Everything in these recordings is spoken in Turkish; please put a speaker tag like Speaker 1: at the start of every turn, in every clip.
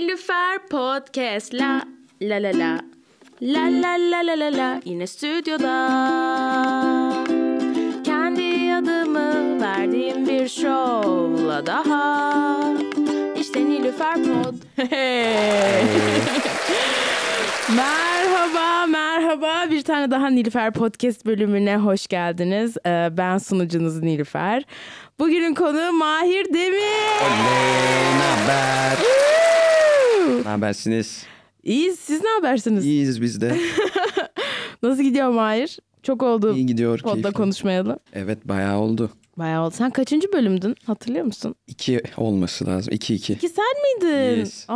Speaker 1: Nilüfer Podcast la la la la la la la la la la yine stüdyoda kendi adımı verdiğim bir şovla daha işte Nilüfer Pod Merhaba, merhaba. Bir tane daha Nilüfer Podcast bölümüne hoş geldiniz. Ee, Ben sunucunuz Nilüfer. Bugünün konuğu Mahir Demir.
Speaker 2: Oley, naber? Nabersiniz?
Speaker 1: İyi, siz ne habersiniz?
Speaker 2: İyiyiz biz de.
Speaker 1: Nasıl gidiyor Mahir? Çok oldu
Speaker 2: İyi gidiyor.
Speaker 1: podda
Speaker 2: keyifli.
Speaker 1: konuşmayalı.
Speaker 2: Evet bayağı oldu.
Speaker 1: Bayağı oldu. Sen kaçıncı bölümdün? Hatırlıyor musun?
Speaker 2: İki olması lazım. İki iki.
Speaker 1: Ki sen miydin?
Speaker 2: Yes.
Speaker 1: Aa,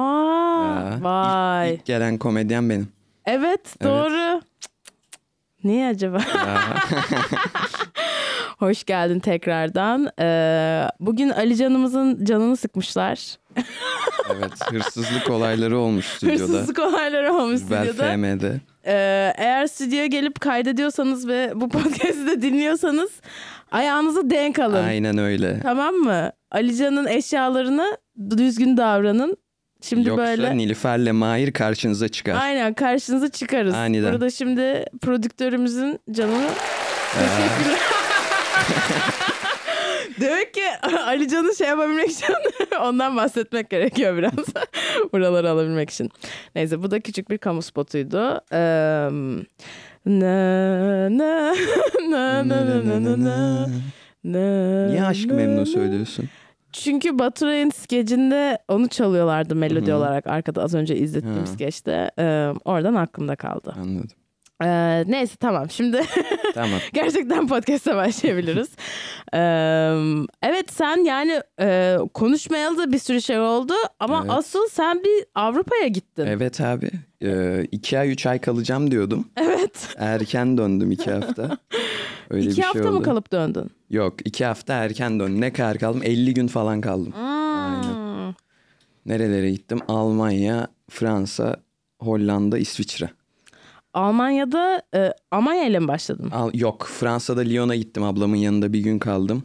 Speaker 2: Ya, ilk-
Speaker 1: vay.
Speaker 2: ilk gelen komedyen benim.
Speaker 1: Evet, doğru. Niye acaba? Hoş geldin tekrardan. Ee, bugün Ali Can'ımızın canını sıkmışlar.
Speaker 2: Evet hırsızlık olayları olmuş stüdyoda.
Speaker 1: Hırsızlık olayları olmuş
Speaker 2: Bel
Speaker 1: stüdyoda.
Speaker 2: FM'de.
Speaker 1: Ee, eğer stüdyoya gelip kaydediyorsanız ve bu podcast'i de dinliyorsanız ayağınızı denk alın.
Speaker 2: Aynen öyle.
Speaker 1: Tamam mı? Alican'ın eşyalarını düzgün davranın. Şimdi
Speaker 2: Yoksa
Speaker 1: böyle
Speaker 2: Nilüfer'le Mahir karşınıza çıkar.
Speaker 1: aynen karşınıza çıkarız.
Speaker 2: Aniden.
Speaker 1: Burada şimdi prodüktörümüzün canını
Speaker 2: Ee.
Speaker 1: teşekkürler. Demek ki Alican'ı şey yapabilmek için ondan bahsetmek gerekiyor biraz. Buraları alabilmek için. Neyse bu da küçük bir kamu spotuydu. Eee, na na na na na na na na na
Speaker 2: Niye aşk
Speaker 1: na
Speaker 2: memnun
Speaker 1: na.
Speaker 2: söylüyorsun?
Speaker 1: Çünkü Baturay'ın skecinde onu çalıyorlardı melodi olarak arkada az önce izlettiğim
Speaker 2: Hı.
Speaker 1: skeçte. Ee, oradan aklımda kaldı.
Speaker 2: Anladım.
Speaker 1: Ee, neyse tamam şimdi
Speaker 2: Tamam.
Speaker 1: gerçekten podcast'a başlayabiliriz. Ee, evet sen yani e, konuşmayalı da bir sürü şey oldu ama
Speaker 2: Evet.
Speaker 1: asıl sen bir Avrupa'ya gittin.
Speaker 2: Evet abi. Ee, iki ay üç ay kalacağım diyordum.
Speaker 1: Evet.
Speaker 2: Erken döndüm iki hafta. Öyle
Speaker 1: İki
Speaker 2: bir
Speaker 1: hafta
Speaker 2: şey oldu.
Speaker 1: mı kalıp döndün?
Speaker 2: Yok iki hafta erken döndüm. Ne kadar kaldım? 50 gün falan kaldım.
Speaker 1: Hmm.
Speaker 2: Aynen. Nerelere gittim? Almanya, Fransa, Hollanda, İsviçre.
Speaker 1: Almanya'da e, Almanya ile mi başladın?
Speaker 2: Al, yok Fransa'da Lyon'a gittim ablamın yanında bir gün kaldım.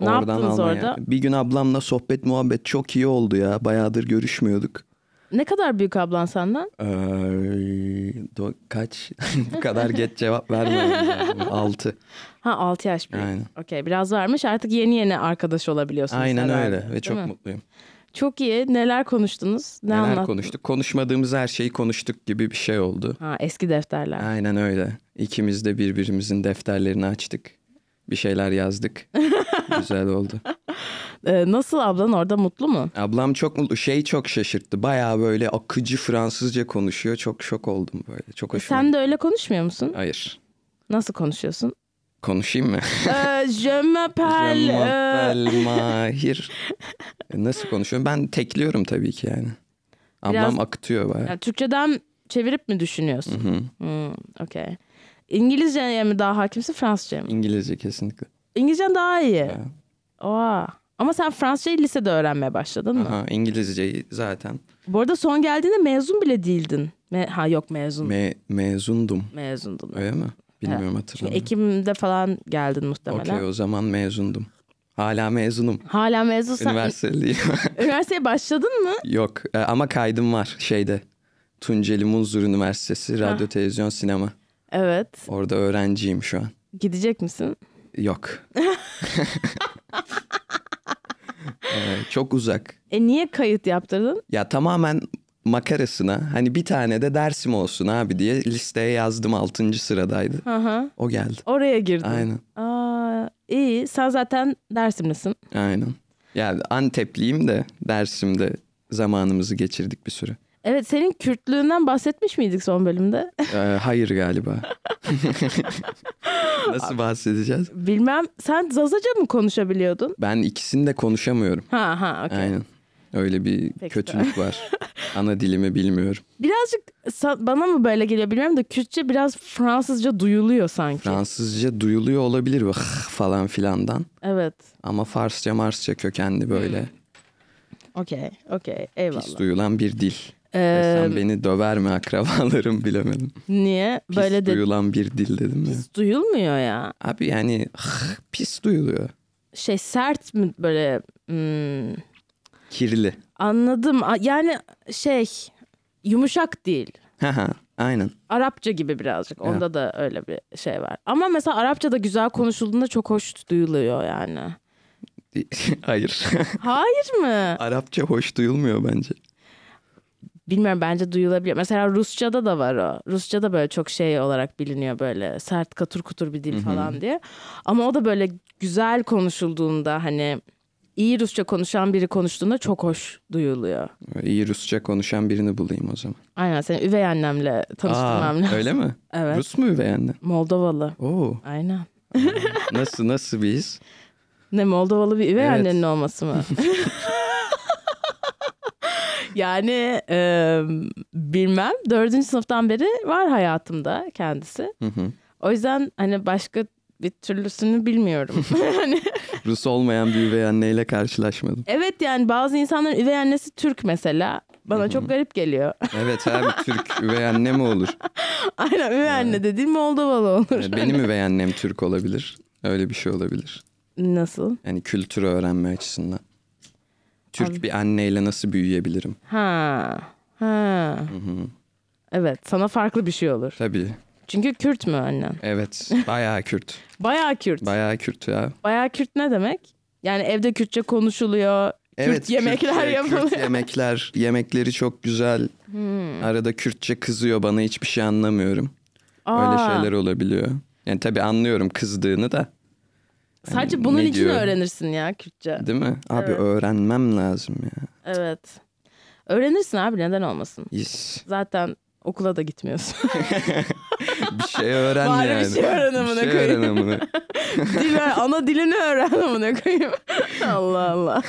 Speaker 1: Ne yaptınız orada?
Speaker 2: Bir gün ablamla sohbet muhabbet çok iyi oldu ya. Bayağıdır görüşmüyorduk.
Speaker 1: Ne kadar büyük ablan senden?
Speaker 2: Ee, do- kaç? Bu kadar geç cevap vermedim. 6.
Speaker 1: Ha 6 yaş büyük.
Speaker 2: Aynen.
Speaker 1: Okey biraz varmış artık yeni yeni arkadaş olabiliyorsunuz.
Speaker 2: Aynen
Speaker 1: herhalde,
Speaker 2: öyle ve
Speaker 1: değil
Speaker 2: çok
Speaker 1: mi?
Speaker 2: mutluyum.
Speaker 1: Çok iyi neler konuştunuz? Ne
Speaker 2: Neler
Speaker 1: anlattın?
Speaker 2: konuştuk? Konuşmadığımız her şeyi konuştuk gibi bir şey oldu.
Speaker 1: Ha, eski defterler.
Speaker 2: Aynen öyle. İkimiz de birbirimizin defterlerini açtık. Bir şeyler yazdık. Güzel oldu.
Speaker 1: Ee, nasıl ablan orada mutlu mu?
Speaker 2: Ablam çok mutlu. Şey çok şaşırttı. Bayağı böyle akıcı Fransızca konuşuyor. Çok şok oldum böyle. Çok hoşuma.
Speaker 1: E Sen de öyle konuşmuyor musun?
Speaker 2: Hayır.
Speaker 1: Nasıl konuşuyorsun?
Speaker 2: Konuşayım mı?
Speaker 1: ee, je m'appelle,
Speaker 2: Je
Speaker 1: ee,
Speaker 2: m'appelle Mahir. E, Nasıl konuşuyorum? Ben tekliyorum tabii ki yani. Ablam
Speaker 1: Biraz-
Speaker 2: akıtıyor bayağı.
Speaker 1: yani Türkçeden çevirip mi düşünüyorsun? Hmm, Okey. İngilizceye mi daha hakimsin Fransızcaya mı?
Speaker 2: İngilizce kesinlikle.
Speaker 1: İngilizcen daha iyi.
Speaker 2: Evet.
Speaker 1: Oha. Ama sen Fransızcayı lisede öğrenmeye başladın mı?
Speaker 2: Aha, İngilizceyi zaten
Speaker 1: Bu arada son geldiğinde mezun bile değildin. Me- ha yok mezun.
Speaker 2: me- mezundum.
Speaker 1: mezundun.
Speaker 2: Öyle mi? Bilmiyorum
Speaker 1: Çünkü
Speaker 2: hatırlamıyorum.
Speaker 1: Ekim'de falan geldin muhtemelen.
Speaker 2: Okey o zaman mezundum. Hala mezunum.
Speaker 1: Hala mezunsan.
Speaker 2: Üniversiteliyim.
Speaker 1: Üniversiteye başladın mı?
Speaker 2: Yok e, ama kaydım var şeyde. Tunceli Munzur Üniversitesi Radyo Televizyon Sinema.
Speaker 1: Evet.
Speaker 2: Orada öğrenciyim şu an.
Speaker 1: Gidecek misin?
Speaker 2: Yok. E, çok uzak.
Speaker 1: E niye kayıt yaptırdın?
Speaker 2: Ya tamamen makarasına hani bir tane de dersim olsun abi diye listeye yazdım 6. sıradaydı.
Speaker 1: Hı hı.
Speaker 2: O geldi.
Speaker 1: Oraya girdin.
Speaker 2: Aynen.
Speaker 1: Aa, iyi. Sen zaten Dersimlisin.
Speaker 2: Aynen. Ya Antepliyim de Dersim'de zamanımızı geçirdik bir süre.
Speaker 1: Evet senin Kürtlüğünden bahsetmiş miydik son bölümde?
Speaker 2: Ee, hayır galiba. Nasıl bahsedeceğiz?
Speaker 1: Bilmem. Sen Zazaca mı konuşabiliyordun?
Speaker 2: Ben ikisini de konuşamıyorum.
Speaker 1: Ha ha okey.
Speaker 2: Aynen. Öyle bir
Speaker 1: Peki,
Speaker 2: kötülük var. Ana dilimi bilmiyorum.
Speaker 1: Birazcık sa- bana mı böyle geliyor bilmiyorum da Kürtçe biraz Fransızca duyuluyor sanki.
Speaker 2: Fransızca duyuluyor olabilir bu falan filandan.
Speaker 1: Evet.
Speaker 2: Ama Farsça Marsça kökenli
Speaker 1: Hmm.
Speaker 2: böyle
Speaker 1: Okey. Okey. Eyvallah.
Speaker 2: pis duyulan bir dil.
Speaker 1: Ee,
Speaker 2: Sen beni döver mi akrabalarım bilemedim.
Speaker 1: niye?
Speaker 2: Pis
Speaker 1: böyle de
Speaker 2: duyulan bir dil dedim ya.
Speaker 1: Pis duyulmuyor ya.
Speaker 2: Abi yani pis duyuluyor.
Speaker 1: Şey sert mi böyle hmm,
Speaker 2: Kirli.
Speaker 1: Anladım. A- Yani şey yumuşak değil.
Speaker 2: Haha, Aynen.
Speaker 1: Arapça gibi birazcık. Onda da öyle bir şey var. Ama mesela Arapça da güzel konuşulduğunda çok hoş duyuluyor yani.
Speaker 2: Hayır.
Speaker 1: Hayır mı?
Speaker 2: Arapça hoş duyulmuyor bence.
Speaker 1: Bilmiyorum bence duyulabiliyor. Mesela Rusça'da da var o. Rusça'da böyle çok şey olarak biliniyor böyle sert katır kutur bir dil falan diye. Ama o da böyle güzel konuşulduğunda hani iyi Rusça konuşan biri konuştuğunda çok hoş duyuluyor.
Speaker 2: İyi Rusça konuşan birini bulayım o zaman.
Speaker 1: Aynen seni üvey annemle tanıştırmam lazım.
Speaker 2: öyle mi?
Speaker 1: Evet.
Speaker 2: Rus mu üvey annen?
Speaker 1: Moldovalı.
Speaker 2: Oo,
Speaker 1: Aynen.
Speaker 2: nasıl nasıl bir his?
Speaker 1: Ne Moldovalı bir üvey
Speaker 2: Evet.
Speaker 1: annenin olması mı? yani e, bilmem. Dördüncü sınıftan beri var hayatımda kendisi.
Speaker 2: Hı hı.
Speaker 1: O yüzden hani başka bir türlüsünü bilmiyorum. hani,
Speaker 2: Rus olmayan bir üvey anneyle karşılaşmadım.
Speaker 1: evet yani bazı insanların üvey annesi Türk mesela. Bana çok garip geliyor.
Speaker 2: Evet abi Türk üvey anne mi olur?
Speaker 1: Aynen üvey anne dediğim Moldovalı olur.
Speaker 2: Yani Benim üvey annem Türk olabilir. Öyle bir şey olabilir.
Speaker 1: Nasıl?
Speaker 2: Yani kültürü öğrenme açısından. Türk bir anneyle nasıl büyüyebilirim?
Speaker 1: Ha. Ha. Evet sana farklı bir şey olur.
Speaker 2: Tabii.
Speaker 1: Çünkü Kürt mü annen?
Speaker 2: Evet. Bayağı Kürt.
Speaker 1: Bayağı Kürt.
Speaker 2: Bayağı Kürt ya.
Speaker 1: Bayağı Kürt ne demek? Yani evde Kürtçe konuşuluyor.
Speaker 2: Evet,
Speaker 1: Kürt yemekler
Speaker 2: Kürtçe,
Speaker 1: yapılıyor. Hmm.
Speaker 2: Kürt yemekler. Yemekleri çok güzel. Arada Kürtçe kızıyor bana hiçbir şey anlamıyorum. Öyle
Speaker 1: Aa,
Speaker 2: şeyler olabiliyor. Yani tabii anlıyorum kızdığını da
Speaker 1: Sadece
Speaker 2: Hani
Speaker 1: bunun
Speaker 2: ne
Speaker 1: için
Speaker 2: diyor?
Speaker 1: öğrenirsin ya Kürtçe.
Speaker 2: değil mi? Abi
Speaker 1: Evet.
Speaker 2: öğrenmem lazım ya.
Speaker 1: Evet. Öğrenirsin abi neden olmasın.
Speaker 2: Yes.
Speaker 1: Zaten okula da gitmiyorsun.
Speaker 2: Bir şey öğren
Speaker 1: Bari bir
Speaker 2: yani.
Speaker 1: şey öğren amına
Speaker 2: şey
Speaker 1: koyayım.
Speaker 2: öğren amına.
Speaker 1: Dil öğren- ana dilini öğren amına koyayım. Allah Allah.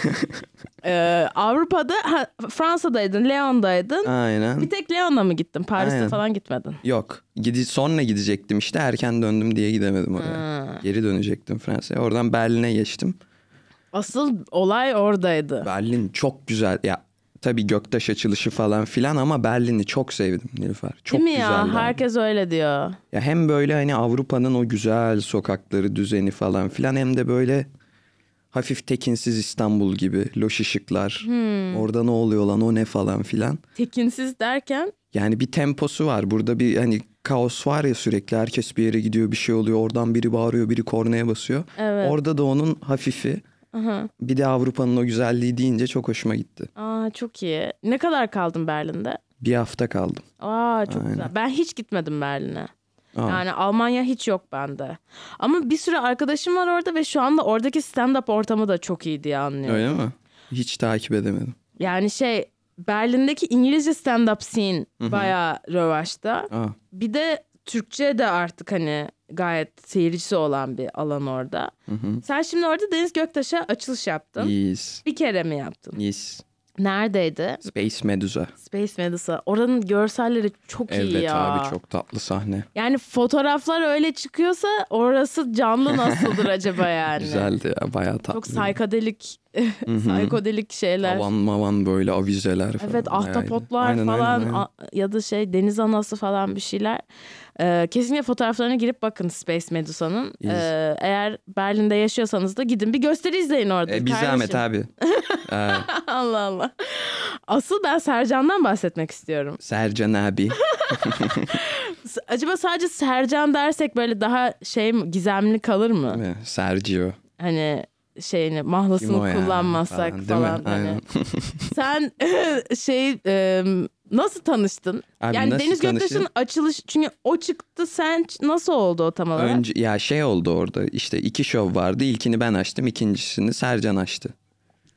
Speaker 1: Ee, Avrupa'da ha, Fransa'daydın, Leon'daydın.
Speaker 2: Aynen.
Speaker 1: Bir tek Leon'a mı gittin? Paris'te
Speaker 2: Aynen.
Speaker 1: falan gitmedin.
Speaker 2: Yok. Gidi sonra gidecektim işte erken döndüm diye gidemedim oraya.
Speaker 1: Ha.
Speaker 2: Geri dönecektim Fransa'ya. Oradan Berlin'e geçtim.
Speaker 1: Asıl olay oradaydı.
Speaker 2: Berlin çok güzel. Ya tabii Göktaş açılışı falan filan ama Berlin'i çok sevdim Nilüfer. Çok
Speaker 1: Değil mi
Speaker 2: güzeldi.
Speaker 1: ya?
Speaker 2: abi.
Speaker 1: Herkes öyle diyor.
Speaker 2: Ya hem böyle hani Avrupa'nın o güzel sokakları, düzeni falan filan hem de böyle hafif tekinsiz İstanbul gibi loş ışıklar.
Speaker 1: Hmm.
Speaker 2: Orada ne oluyor lan o ne falan filan.
Speaker 1: Tekinsiz derken
Speaker 2: Yani bir temposu var. Burada bir hani kaos var ya sürekli herkes bir yere gidiyor bir şey oluyor. Oradan biri bağırıyor biri kornaya basıyor.
Speaker 1: Evet.
Speaker 2: Orada da onun hafifi
Speaker 1: Aha.
Speaker 2: bir de Avrupa'nın o güzelliği deyince çok hoşuma gitti.
Speaker 1: Aa çok iyi. Ne kadar kaldın Berlin'de?
Speaker 2: Bir hafta kaldım.
Speaker 1: Aa çok
Speaker 2: Aynen.
Speaker 1: güzel. Ben hiç gitmedim Berlin'e.
Speaker 2: Aa,
Speaker 1: Yani Almanya hiç yok bende. Ama bir sürü arkadaşım var orada ve şu anda oradaki stand-up ortamı da çok iyi diye anlıyorum.
Speaker 2: Öyle mi? Hiç takip edemedim.
Speaker 1: Yani şey Berlin'deki İngilizce stand-up scene bayağı rövaşta.
Speaker 2: Aa,
Speaker 1: Bir de Türkçe de artık hani gayet seyircisi olan bir alan orada. Sen şimdi orada Deniz Göktaş'a açılış yaptın.
Speaker 2: yes.
Speaker 1: Bir kere mi yaptın?
Speaker 2: Yes.
Speaker 1: Neredeydi?
Speaker 2: Space Medusa.
Speaker 1: Space Medusa. Oranın görselleri çok iyi ya.
Speaker 2: Evet abi çok tatlı sahne.
Speaker 1: Yani fotoğraflar öyle çıkıyorsa orası canlı nasıldır acaba yani?
Speaker 2: Güzeldi ya bayağı tatlı.
Speaker 1: Çok saykadelik, saykodelik şeyler.
Speaker 2: Havan mavan böyle avizeler falan.
Speaker 1: Evet
Speaker 2: bayağı iyiydi.
Speaker 1: ahtapotlar
Speaker 2: Aynen, aynen,
Speaker 1: falan
Speaker 2: aynen.
Speaker 1: a- ya da şey deniz anası falan bir şeyler. Ee, kesinlikle fotoğraflarına girip bakın Space Medusa'nın.
Speaker 2: İyiyiz.
Speaker 1: Ee, eğer Berlin'de yaşıyorsanız da gidin bir gösteri izleyin orada.
Speaker 2: E, bir zahmet
Speaker 1: kardeşim.
Speaker 2: abi. Ee,
Speaker 1: Allah Allah. Asıl ben Sercan'dan bahsetmek istiyorum.
Speaker 2: Sercan abi.
Speaker 1: S- Acaba sadece Sercan dersek böyle daha şey mi- gizemli kalır mı?
Speaker 2: Ee, Sergio.
Speaker 1: hani şeyini
Speaker 2: Kim o
Speaker 1: mahlasını
Speaker 2: ya?
Speaker 1: kullanmazsak
Speaker 2: değil mi?
Speaker 1: falan. hani.
Speaker 2: Aynen.
Speaker 1: Sen şey e, nasıl tanıştın?
Speaker 2: Abi
Speaker 1: yani
Speaker 2: nasıl
Speaker 1: Deniz Göktaş'ın
Speaker 2: tanıştın?
Speaker 1: açılış çünkü o çıktı sen ç- nasıl oldu o tam olarak?
Speaker 2: Önce ya şey oldu orada işte iki şov vardı. İlkini ben açtım, ikincisini Sercan açtı.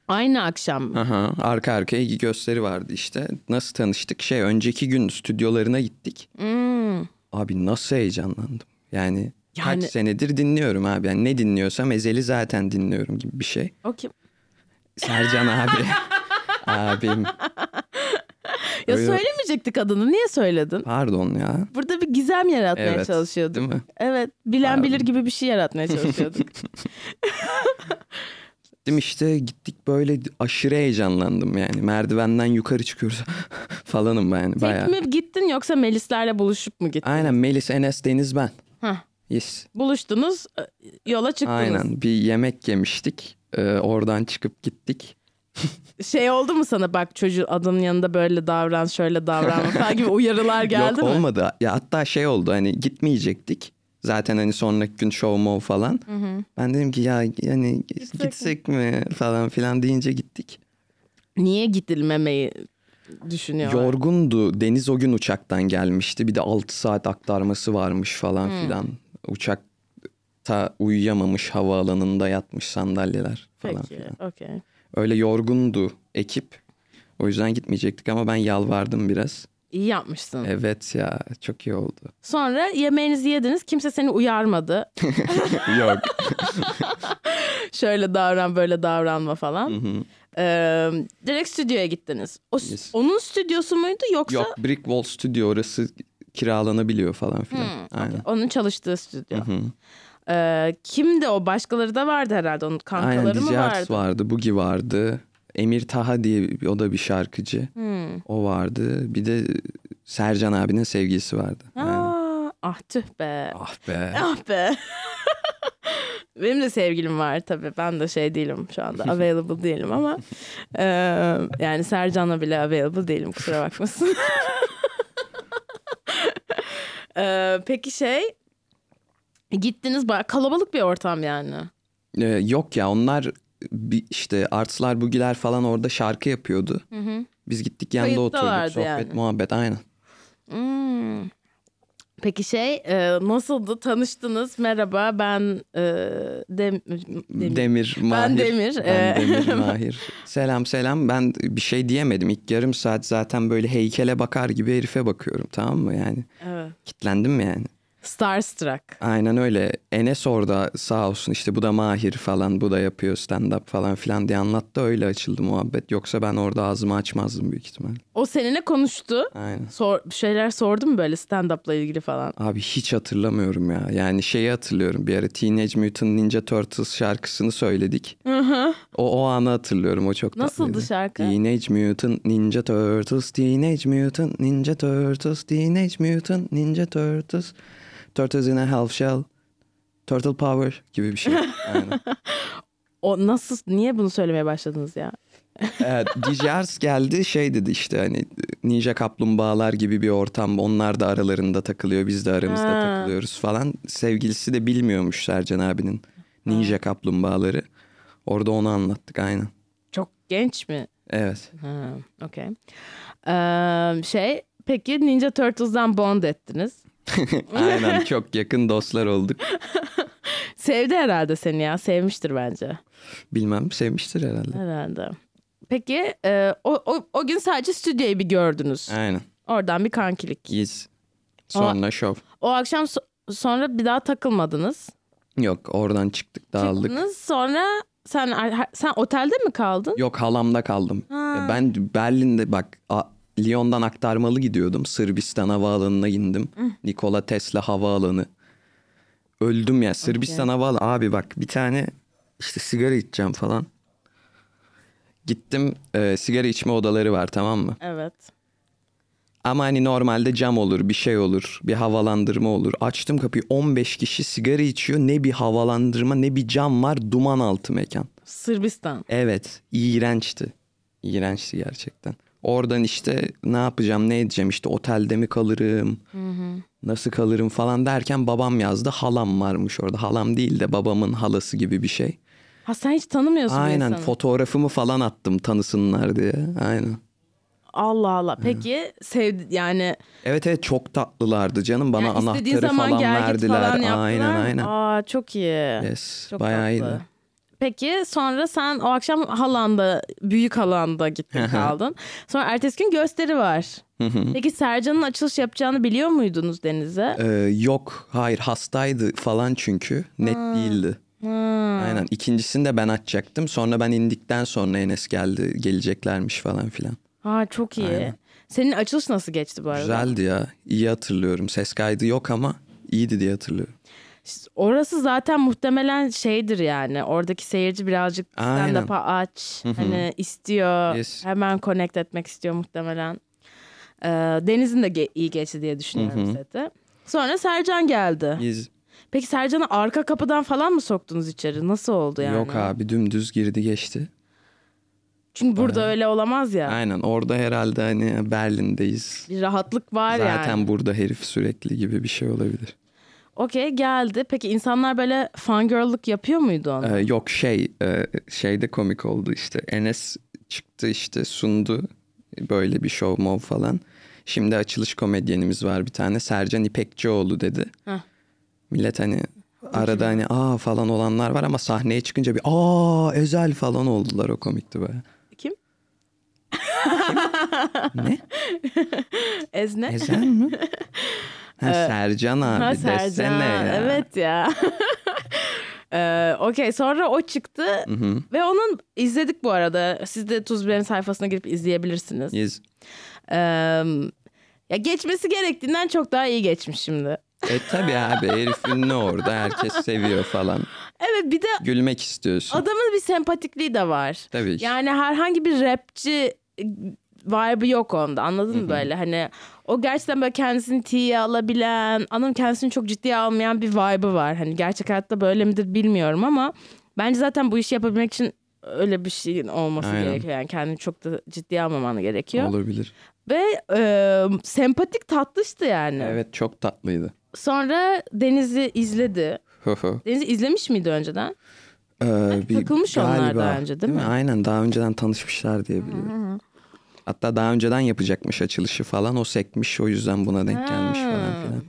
Speaker 1: Aynı akşam mı?
Speaker 2: Aha, arka arkaya iki gösteri vardı işte. Nasıl tanıştık? Şey önceki gün stüdyolarına gittik.
Speaker 1: Hmm.
Speaker 2: Abi nasıl heyecanlandım. Yani, kaç
Speaker 1: Yani-
Speaker 2: senedir dinliyorum abi. Yani ne dinliyorsam Ezel'i zaten dinliyorum gibi bir şey.
Speaker 1: O kim?
Speaker 2: Sercan abi. Abim.
Speaker 1: Ya
Speaker 2: Öyle-
Speaker 1: söylemeyecektik adını. Niye söyledin?
Speaker 2: Pardon ya.
Speaker 1: Burada bir gizem yaratmaya
Speaker 2: Evet.
Speaker 1: çalışıyorduk.
Speaker 2: Değil mi?
Speaker 1: Evet, bilen
Speaker 2: Pardon.
Speaker 1: bilir gibi bir şey yaratmaya çalışıyorduk.
Speaker 2: Gittim işte gittik böyle aşırı heyecanlandım yani. Merdivenden yukarı çıkıyoruz falanım ben yani bayağı.
Speaker 1: Tek mi gittin yoksa Melislerle buluşup mu gittin?
Speaker 2: Aynen Melis, Enes, Deniz ben.
Speaker 1: Hah.
Speaker 2: Yes.
Speaker 1: Buluştunuz, e, yola çıktınız.
Speaker 2: Aynen bir yemek yemiştik. Ee, oradan çıkıp gittik.
Speaker 1: şey oldu mu sana bak çocuğun adının yanında böyle davran şöyle davran falan gibi uyarılar geldi
Speaker 2: Yok
Speaker 1: mi?
Speaker 2: olmadı. Ya hatta şey oldu hani gitmeyecektik. Zaten hani sonraki gün show mo falan. Ben dedim ki ya yani gitsek, mi? falan filan deyince gittik.
Speaker 1: Niye gidilmemeyi düşünüyorlar?
Speaker 2: Yorgundu. Deniz o gün uçaktan gelmişti. Bir de 6 saat aktarması varmış falan filan. Uçakta uyuyamamış havaalanında yatmış sandalyeler falan
Speaker 1: Peki,
Speaker 2: filan.
Speaker 1: okey.
Speaker 2: Öyle yorgundu ekip. O yüzden gitmeyecektik ama ben yalvardım biraz.
Speaker 1: İyi yapmışsın.
Speaker 2: Evet ya çok iyi oldu.
Speaker 1: Sonra yemeğinizi yediniz. Kimse seni uyarmadı.
Speaker 2: Yok.
Speaker 1: Şöyle davran böyle davranma falan. Ee, direkt stüdyoya gittiniz. O, s-
Speaker 2: Yes.
Speaker 1: Onun stüdyosu muydu yoksa
Speaker 2: Yok Brick Wall Studio orası kiralanabiliyor falan filan.
Speaker 1: Hmm,
Speaker 2: Aynen.
Speaker 1: onun çalıştığı stüdyo? Ee, kimdi o? Başkaları da vardı herhalde. Onun kankaları
Speaker 2: Aynen
Speaker 1: mı
Speaker 2: DJ
Speaker 1: vardı?
Speaker 2: Arts vardı, Bugi vardı. Emir Taha diye bir- o da bir şarkıcı.
Speaker 1: Hmm.
Speaker 2: O vardı. Bir de Sercan abinin sevgilisi vardı. Aynen.
Speaker 1: Aa, ah tüh be.
Speaker 2: Ah be.
Speaker 1: Ah be. Benim de sevgilim var tabii. Ben de şey değilim şu anda. Available değilim ama. e, yani Sercan'la bile available değilim. Kusura bakmasın. E, peki şey. Gittiniz bayağı kalabalık bir ortam yani.
Speaker 2: Ee, yok ya onlar bir işte Artslar Bugiler falan orada şarkı yapıyordu. Biz gittik yanında
Speaker 1: Kayıttalardı
Speaker 2: oturduk sohbet
Speaker 1: yani.
Speaker 2: muhabbet aynen.
Speaker 1: Hmm. Peki şey e, nasıldı? Tanıştınız. Merhaba ben e, Dem- Demir.
Speaker 2: Demir, Mahir.
Speaker 1: Demir,
Speaker 2: Ben
Speaker 1: ee.
Speaker 2: Demir, Mahir. Selam selam. Ben bir şey diyemedim. İlk yarım saat zaten böyle heykele bakar gibi herife bakıyorum tamam mı yani.
Speaker 1: Evet.
Speaker 2: Kitlendim mi yani?
Speaker 1: Starstruck.
Speaker 2: Aynen öyle. Enes orada sağ olsun işte bu da Mahir falan bu da yapıyor stand up falan filan diye anlattı öyle açıldı muhabbet. Yoksa ben orada ağzımı açmazdım büyük ihtimal.
Speaker 1: O seninle konuştu.
Speaker 2: Aynen.
Speaker 1: Sor, bir şeyler sordu mu böyle stand-up'la ilgili falan?
Speaker 2: Abi hiç hatırlamıyorum ya. Yani şeyi hatırlıyorum. Bir ara Teenage Mutant Ninja Turtles şarkısını söyledik. O, o anı hatırlıyorum. O çok tatlıydı.
Speaker 1: Nasıldı şarkı?
Speaker 2: Teenage Mutant Ninja Turtles, Teenage Mutant Ninja Turtles, Teenage Mutant Ninja Turtles. Turtles in a half shell. Turtle power gibi bir şey. Aynen.
Speaker 1: O nasıl, niye bunu söylemeye başladınız ya?
Speaker 2: evet, DJ Ars geldi şey dedi işte hani ninja kaplumbağalar gibi bir ortam. Onlar da aralarında takılıyor biz de aramızda
Speaker 1: Ha.
Speaker 2: takılıyoruz falan. Sevgilisi de bilmiyormuş Sercan abinin ninja kaplumbağaları. Orada onu anlattık aynen.
Speaker 1: Çok genç mi?
Speaker 2: Evet.
Speaker 1: Ha, okey. Ee, şey, peki Ninja Turtles'dan bond ettiniz.
Speaker 2: Aynen çok yakın dostlar olduk.
Speaker 1: Sevdi herhalde seni ya, sevmiştir bence.
Speaker 2: Bilmem sevmiştir herhalde.
Speaker 1: Herhalde. Peki e, o, o, o gün sadece stüdyoyu bir gördünüz.
Speaker 2: Aynen.
Speaker 1: Oradan bir kankilik.
Speaker 2: Yes. Sonra şov.
Speaker 1: O akşam so- sonra bir daha takılmadınız.
Speaker 2: Yok oradan çıktık dağıldık.
Speaker 1: Çıktınız, Sonra sen sen otelde mi kaldın?
Speaker 2: Yok halamda kaldım. Ya Ben Berlin'de bak a- Lyon'dan aktarmalı gidiyordum. Sırbistan havaalanına indim. Nikola Tesla havaalanı. Öldüm ya Sırbistan havaalanı. Abi bak bir tane işte sigara içeceğim falan. Gittim e, sigara içme odaları var tamam mı?
Speaker 1: Evet.
Speaker 2: Ama hani normalde cam olur, bir şey olur, bir havalandırma olur. Açtım kapıyı 15 kişi sigara içiyor. Ne bir havalandırma ne bir cam var. Duman altı mekan.
Speaker 1: Sırbistan.
Speaker 2: Evet, iğrençti. İğrençti gerçekten. Oradan işte ne yapacağım, ne edeceğim işte otelde mi kalırım, nasıl kalırım falan derken babam yazdı. Halam varmış orada. Halam değil de babamın halası gibi bir şey.
Speaker 1: Ha sen hiç tanımıyorsun bu
Speaker 2: Aynen
Speaker 1: insanı.
Speaker 2: fotoğrafımı falan attım tanısınlar diye. Aynen.
Speaker 1: Allah Allah. Peki sevdi yani
Speaker 2: Evet evet çok tatlılardı canım. Bana
Speaker 1: yani istediğin
Speaker 2: anahtarı
Speaker 1: zaman
Speaker 2: falan
Speaker 1: gel git
Speaker 2: verdiler.
Speaker 1: falan yaptılar.
Speaker 2: aynen
Speaker 1: mı?
Speaker 2: aynen.
Speaker 1: Aa çok iyi.
Speaker 2: yes,
Speaker 1: Çok
Speaker 2: bayağı
Speaker 1: tatlı.
Speaker 2: iyiydi.
Speaker 1: Peki sonra sen o akşam halanda, büyük halanda gittin kaldın. Sonra ertesi gün gösteri var. Peki Sercan'ın açılış yapacağını biliyor muydunuz Deniz'e?
Speaker 2: Ee, yok hayır hastaydı falan çünkü net değildi. Aynen ikincisini de ben açacaktım sonra ben indikten sonra Enes geldi geleceklermiş falan filan.
Speaker 1: Ha çok iyi. Senin açılış nasıl geçti bu arada?
Speaker 2: Güzeldi ya iyi hatırlıyorum ses kaydı yok ama iyiydi diye hatırlıyorum.
Speaker 1: Orası zaten muhtemelen şeydir yani. Oradaki seyirci birazcık
Speaker 2: Aynen.
Speaker 1: stand-up'a aç. Hani istiyor.
Speaker 2: Yes.
Speaker 1: Hemen connect etmek istiyor muhtemelen. Ee, Deniz'in de ge- iyi geçti diye düşünüyorum seti. Sonra Sercan geldi.
Speaker 2: Biz
Speaker 1: Peki Sercan'ı arka kapıdan falan mı soktunuz içeri? Nasıl oldu yani?
Speaker 2: yok abi dümdüz girdi geçti.
Speaker 1: Çünkü burada öyle olamaz ya.
Speaker 2: Aynen orada herhalde hani Berlin'deyiz.
Speaker 1: Bir rahatlık var yani.
Speaker 2: Zaten burada herif sürekli gibi bir şey olabilir.
Speaker 1: Okey geldi. Peki insanlar böyle fangirl'lık yapıyor muydu onu?
Speaker 2: Ee, yok şey e, şeyde komik oldu işte. Enes çıktı işte sundu böyle bir show mov falan. Şimdi açılış komedyenimiz var bir tane Sercan İpekçioğlu dedi.
Speaker 1: Heh.
Speaker 2: Millet hani arada hani aa falan olanlar var ama sahneye çıkınca bir aa özel falan oldular o komikti baya.
Speaker 1: Kim?
Speaker 2: Ne?
Speaker 1: Ezne?
Speaker 2: Ezel mi? Ha, Sercan abi
Speaker 1: Ee, Ha,
Speaker 2: desene ya.
Speaker 1: Evet ya. Ee, Okey sonra o çıktı ve onun izledik bu arada. Siz de Tuz Biber'in sayfasına girip izleyebilirsiniz.
Speaker 2: Yes.
Speaker 1: Ee, ya geçmesi gerektiğinden çok daha iyi geçmiş şimdi.
Speaker 2: E tabi abi herifin ne orada herkes seviyor falan.
Speaker 1: Evet bir de
Speaker 2: Gülmek istiyorsun.
Speaker 1: adamın bir sempatikliği de var.
Speaker 2: Tabii ki.
Speaker 1: Yani herhangi bir rapçi e, vibe'ı yok onda anladın mı böyle hani o gerçekten böyle kendisini tiye alabilen anım kendisini çok ciddiye almayan bir vibe'ı var hani gerçek hayatta böyle midir bilmiyorum ama bence zaten bu işi yapabilmek için öyle bir şeyin olması
Speaker 2: Aynen.
Speaker 1: gerekiyor yani kendini çok da ciddiye almaman gerekiyor
Speaker 2: Olabilir.
Speaker 1: ve e, sempatik tatlıştı yani
Speaker 2: Evet çok tatlıydı.
Speaker 1: sonra Deniz'i izledi
Speaker 2: Hı hı.
Speaker 1: Deniz'i izlemiş miydi önceden
Speaker 2: Ee,
Speaker 1: takılmış onlar daha önce, değil mi?
Speaker 2: Aynen daha önceden tanışmışlar diye biliyorum. Hatta daha önceden yapacakmış açılışı falan o sekmiş o yüzden buna denk gelmiş
Speaker 1: Ha.
Speaker 2: falan filan.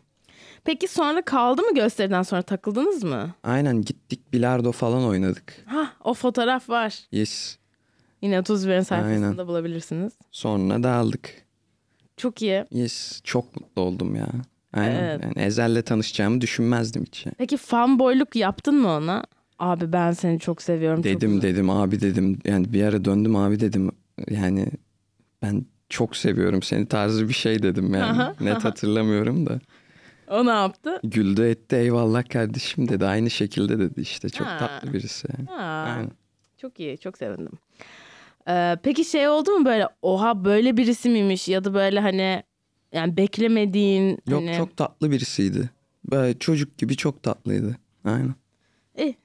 Speaker 1: peki sonra kaldı mı gösteriden sonra takıldınız mı?
Speaker 2: Aynen gittik bilardo falan oynadık.
Speaker 1: Hah o fotoğraf var.
Speaker 2: Yes.
Speaker 1: Yine 31'in sayfasında
Speaker 2: Aynen.
Speaker 1: bulabilirsiniz.
Speaker 2: Sonra dağıldık.
Speaker 1: Çok iyi.
Speaker 2: Yes. Çok mutlu oldum ya. Aynen.
Speaker 1: Evet.
Speaker 2: Yani Ezel'le tanışacağımı düşünmezdim hiç. ya.
Speaker 1: Peki fanboyluk yaptın mı ona? Abi ben seni çok seviyorum. çok
Speaker 2: Dedim dedim abi dedim. Yani bir ara döndüm abi dedim. Yani ben çok seviyorum seni tarzı bir şey dedim yani. Net hatırlamıyorum da.
Speaker 1: O ne yaptı?
Speaker 2: Güldü etti eyvallah kardeşim dedi. Aynı şekilde dedi işte. Çok
Speaker 1: Ha. Hani
Speaker 2: tatlı birisi. yani.
Speaker 1: Aa,
Speaker 2: Aynen.
Speaker 1: Çok iyi. Çok sevindim. Ee, peki şey oldu mu böyle oha böyle birisi miymiş ya da böyle hani yani beklemediğin
Speaker 2: Yok
Speaker 1: hani...
Speaker 2: çok tatlı birisiydi. Böyle çocuk gibi çok tatlıydı. Aynen.
Speaker 1: İyi.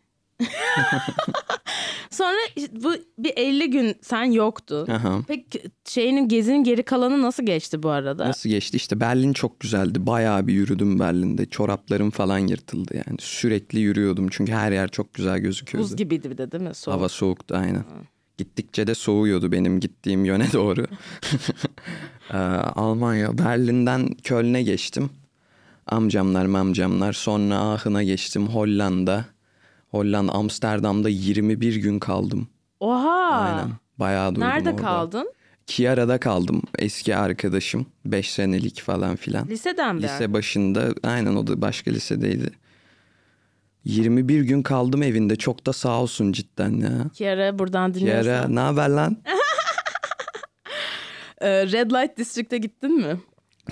Speaker 1: Sonra işte bu bir 50 gün sen yoktun.
Speaker 2: Aha.
Speaker 1: Peki şeyinin gezinin geri kalanı nasıl geçti bu arada?
Speaker 2: Nasıl geçti? İşte Berlin çok güzeldi. Bayağı bir yürüdüm Berlin'de. Çoraplarım falan yırtıldı yani. Sürekli yürüyordum çünkü her yer çok güzel gözüküyordu.
Speaker 1: Buz gibiydi bir de değil mi? Soğuk.
Speaker 2: Hava soğuktu aynen. Gittikçe de soğuyordu benim gittiğim yöne doğru. Ee, Almanya, Berlin'den Köln'e geçtim. Amcamlar mamcamlar. Sonra Aachen'a geçtim Hollanda. Hollanda, Amsterdam'da 21 gün kaldım.
Speaker 1: Oha.
Speaker 2: Aynen. Bayağı durdum
Speaker 1: Nerede
Speaker 2: orada.
Speaker 1: kaldın?
Speaker 2: Kiara'da kaldım. Eski arkadaşım. 5 senelik falan filan.
Speaker 1: Liseden mi?
Speaker 2: Lise başında aynen o da başka lisedeydi. 21 gün kaldım evinde. Çok da sağ olsun cidden ya.
Speaker 1: Kiara buradan dinliyorsan.
Speaker 2: Kiara ne haber lan?
Speaker 1: Ee, Red Light District'e gittin mi?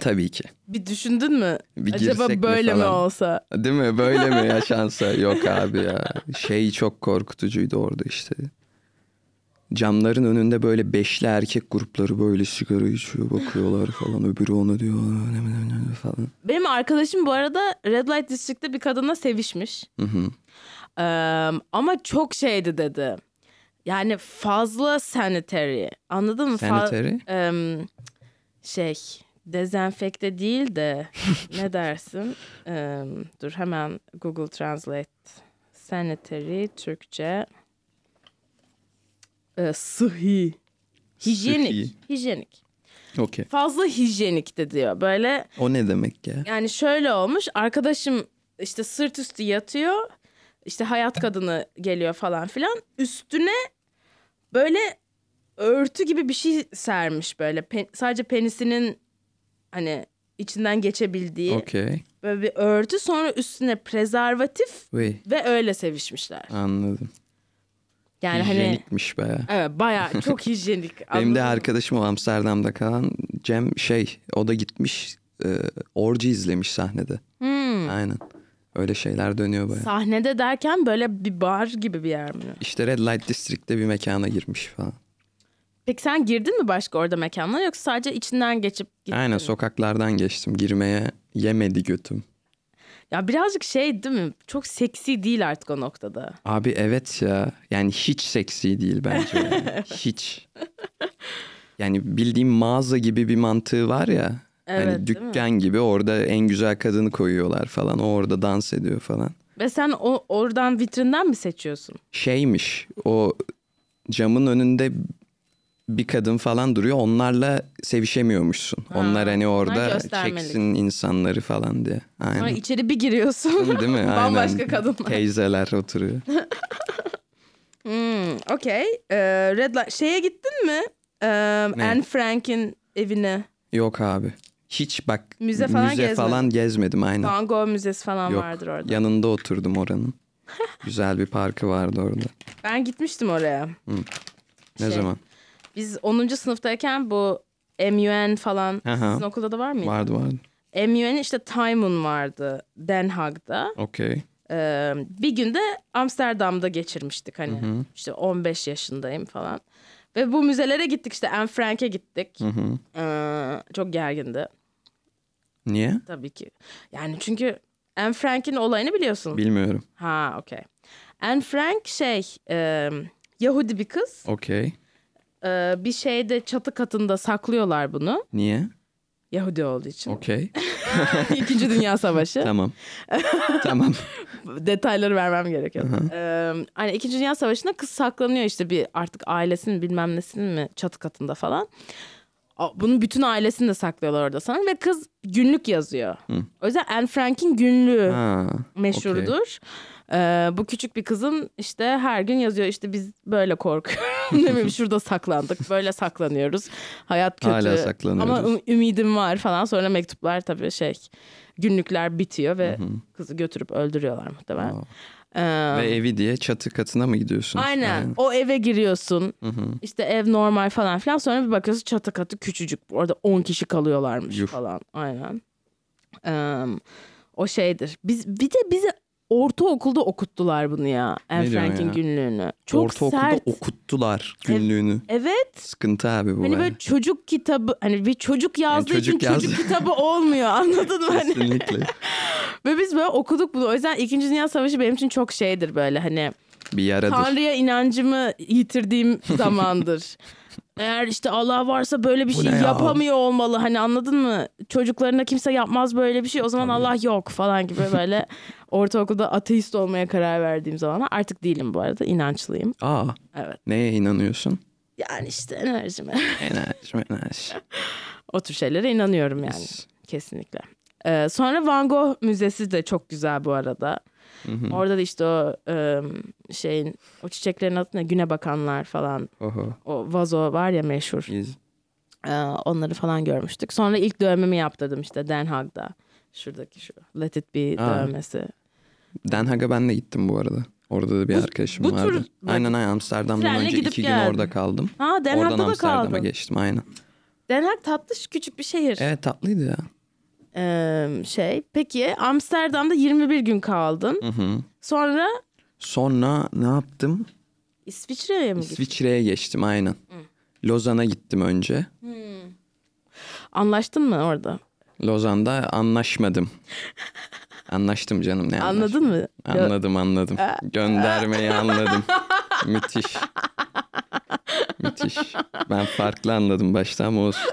Speaker 2: Tabii ki.
Speaker 1: Bir düşündün mü?
Speaker 2: Bir
Speaker 1: Acaba
Speaker 2: girsek mi
Speaker 1: böyle mi
Speaker 2: falan?
Speaker 1: olsa?
Speaker 2: Değil mi? Böyle mi yaşansa? Yok abi ya. Şey çok korkutucuydu orada işte. Camların önünde böyle beşli erkek grupları böyle sigara içiyor bakıyorlar falan. Öbürü ona diyor "Aa, ne, ne, ne," falan.
Speaker 1: Benim arkadaşım bu arada Red Light District'te bir kadınla sevişmiş. Ee, ama çok şeydi dedi. Yani fazla sanitary. Anladın mı? Fa-
Speaker 2: Sanitary?
Speaker 1: Em, şey dezenfekte değil de ne dersin? Em, dur hemen Google Translate. Sanitary Türkçe. E, sıhhi. Hijyenik.
Speaker 2: Sıhhi.
Speaker 1: Hijyenik.
Speaker 2: Okey.
Speaker 1: Fazla hijyenik de diyor. Böyle
Speaker 2: O ne demek ya?
Speaker 1: yani şöyle olmuş. Arkadaşım işte sırt üstü yatıyor. İşte hayat kadını geliyor falan filan. Üstüne böyle örtü gibi bir şey sermiş böyle. Pe- sadece penisinin hani içinden geçebildiği
Speaker 2: Okey.
Speaker 1: böyle bir örtü. Sonra üstüne prezervatif
Speaker 2: Vay.
Speaker 1: ve öyle sevişmişler.
Speaker 2: Anladım.
Speaker 1: Yani hani
Speaker 2: Hijyenikmiş baya.
Speaker 1: evet, bayağı çok hijyenik.
Speaker 2: Benim de
Speaker 1: anladın mı?
Speaker 2: arkadaşım o Amsterdam'da kalan Cem şey o da gitmiş e, orji izlemiş sahnede.
Speaker 1: Hmm.
Speaker 2: Aynen. Öyle şeyler dönüyor baya.
Speaker 1: Sahnede derken böyle bir bar gibi bir yer mi?
Speaker 2: İşte Red Light District'te bir mekana girmiş falan.
Speaker 1: Peki sen girdin mi başka orada mekanlara yoksa sadece içinden geçip gittin?
Speaker 2: Aynen sokaklardan geçtim. Girmeye yemedi götüm.
Speaker 1: Ya birazcık şey değil mi? Çok seksi değil artık o noktada.
Speaker 2: Abi evet ya. Yani hiç seksi değil bence. yani. hiç. Yani bildiğim mağaza gibi bir mantığı var ya.
Speaker 1: Evet, değil mi?
Speaker 2: hani dükkan gibi orada en güzel kadını koyuyorlar falan. O orada dans ediyor falan.
Speaker 1: Ve sen o oradan vitrinden mi seçiyorsun?
Speaker 2: Şeymiş o camın önünde bir kadın falan duruyor. Onlarla sevişemiyormuşsun. onlar hani orada
Speaker 1: göstermelik.
Speaker 2: çeksin insanları falan diye. Aynen.
Speaker 1: Sonra içeri bir giriyorsun.
Speaker 2: Değil mi? Aynen.
Speaker 1: Bambaşka kadınlar.
Speaker 2: Teyzeler oturuyor.
Speaker 1: Hmm, Okey. Ee, Red Light. Şeye gittin mi? Ee, Anne Frank'in evine.
Speaker 2: Yok abi. Hiç bak
Speaker 1: Müze
Speaker 2: müze
Speaker 1: falan
Speaker 2: falan,
Speaker 1: gezmedin.
Speaker 2: gezmedim aynen.
Speaker 1: Van Gogh müzesi falan
Speaker 2: Yok.
Speaker 1: vardır orada.
Speaker 2: Yanında oturdum oranın. Güzel bir parkı vardı orada.
Speaker 1: Ben gitmiştim oraya.
Speaker 2: Ne
Speaker 1: Şey,
Speaker 2: zaman?
Speaker 1: Biz 10. sınıftayken bu MUN falan
Speaker 2: Aha.
Speaker 1: sizin okulda da var mıydı?
Speaker 2: Vardı vardı.
Speaker 1: MUN işte Time'un vardı Den Haag'da.
Speaker 2: Okey.
Speaker 1: Ee, bir günde Amsterdam'da geçirmiştik hani işte 15 yaşındayım falan. Ve bu müzelere gittik işte Anne Frank'e gittik. Ee, çok gergindi
Speaker 2: Niye?
Speaker 1: tabii ki. Yani çünkü Anne Frank'in olayını biliyorsun.
Speaker 2: Bilmiyorum.
Speaker 1: ha okey. Anne Frank şey e, Yahudi bir kız.
Speaker 2: Okey.
Speaker 1: Ee, bir şeyde çatı katında saklıyorlar bunu.
Speaker 2: Niye?
Speaker 1: Yahudi olduğu için.
Speaker 2: Okey.
Speaker 1: İkinci Dünya Savaşı.
Speaker 2: tamam. tamam.
Speaker 1: detayları vermem gerekiyor. Ee, hani İkinci Dünya Savaşı'nda kız saklanıyor işte bir artık ailesinin bilmem nesinin mi çatı katında falan. A- Bunun bütün ailesini de saklıyorlar orada sanırım ve kız günlük yazıyor. O yüzden Anne Frank'in günlüğü
Speaker 2: Ha, okey.
Speaker 1: meşhurdur. Ee, bu küçük bir kızın işte her gün yazıyor işte biz böyle korkuyoruz. ne bileyim şurada saklandık böyle saklanıyoruz. Hayat kötü.
Speaker 2: Hala saklanıyoruz.
Speaker 1: Ama ü- ümidim var falan sonra mektuplar tabii şey günlükler bitiyor ve kızı götürüp öldürüyorlar muhtemelen. Ee,
Speaker 2: Ve evi diye çatı katına mı gidiyorsun?
Speaker 1: Aynen. O eve giriyorsun. İşte ev normal falan filan. Sonra bir bakıyorsun çatı katı küçücük. Orada 10 kişi kalıyorlarmış
Speaker 2: Yuh.
Speaker 1: falan. Aynen. Ee, o şeydir. Biz bir de bize ortaokulda okuttular bunu ya. Anne
Speaker 2: Ne diyorsun
Speaker 1: Frank'in
Speaker 2: ya?
Speaker 1: günlüğünü. Çok
Speaker 2: Ortaokulda
Speaker 1: sert.
Speaker 2: okuttular günlüğünü.
Speaker 1: evet.
Speaker 2: Sıkıntı abi bu.
Speaker 1: Hani
Speaker 2: bence.
Speaker 1: böyle çocuk kitabı hani bir çocuk yazdığı
Speaker 2: çocuk
Speaker 1: için
Speaker 2: yazdı.
Speaker 1: çocuk kitabı olmuyor anladın mı? Hani
Speaker 2: Kesinlikle.
Speaker 1: ve biz böyle okuduk bunu. O yüzden İkinci Dünya Savaşı benim için çok şeydir böyle hani
Speaker 2: Bir yaradır.
Speaker 1: Tanrı'ya inancımı yitirdiğim zamandır. Eğer işte Allah varsa böyle bir
Speaker 2: Bu
Speaker 1: şey
Speaker 2: ne ya?
Speaker 1: yapamıyor olmalı. Hani anladın mı? Çocuklarına kimse yapmaz böyle bir şey. O zaman Allah yok falan gibi böyle ortaokulda ateist olmaya karar verdiğim zaman artık değilim bu arada. inançlıyım.
Speaker 2: Aa.
Speaker 1: Evet.
Speaker 2: Neye inanıyorsun?
Speaker 1: Yani işte enerjime.
Speaker 2: Enerji, enerji.
Speaker 1: o tür şeylere inanıyorum yani.
Speaker 2: Yes.
Speaker 1: Kesinlikle. Ee, sonra Van Gogh Müzesi de çok güzel bu arada. Orada da işte o e, şeyin o çiçeklerin adı ne? Güne bakanlar falan
Speaker 2: Oho.
Speaker 1: o vazo var ya meşhur.
Speaker 2: Biz-
Speaker 1: Ee, onları falan görmüştük. Sonra ilk dövmemi yaptırdım işte Den Haag'da. Şuradaki şu Let It Be
Speaker 2: Aa.
Speaker 1: dövmesi.
Speaker 2: Den Haag'a ben de gittim bu arada. Orada da bir arkadaşım
Speaker 1: bu tür
Speaker 2: vardı.
Speaker 1: böyle
Speaker 2: Aynen aynen Amsterdam'dan
Speaker 1: trenle
Speaker 2: önce
Speaker 1: gidip
Speaker 2: iki
Speaker 1: geldin.
Speaker 2: gün orada kaldım.
Speaker 1: Ha Den
Speaker 2: Oradan
Speaker 1: Haag'da da
Speaker 2: Amsterdam'a
Speaker 1: kaldım.
Speaker 2: geçtim aynen.
Speaker 1: Den Haag tatlı şu küçük bir şehir.
Speaker 2: Evet tatlıydı ya.
Speaker 1: Ee, şey peki Amsterdam'da 21 gün kaldın. Sonra
Speaker 2: Sonra ne yaptım?
Speaker 1: İsviçre'ye mi gittin?
Speaker 2: İsviçre'ye geçtim aynen. Lozan'a gittim önce.
Speaker 1: Anlaştın mı orada?
Speaker 2: Lozan'da anlaşmadım. Anlaştım canım ne anlaştım.
Speaker 1: Anladın mı?
Speaker 2: Anladım anladım. Göndermeyi anladım. Müthiş. Müthiş. Ben farklı anladım başta ama olsun.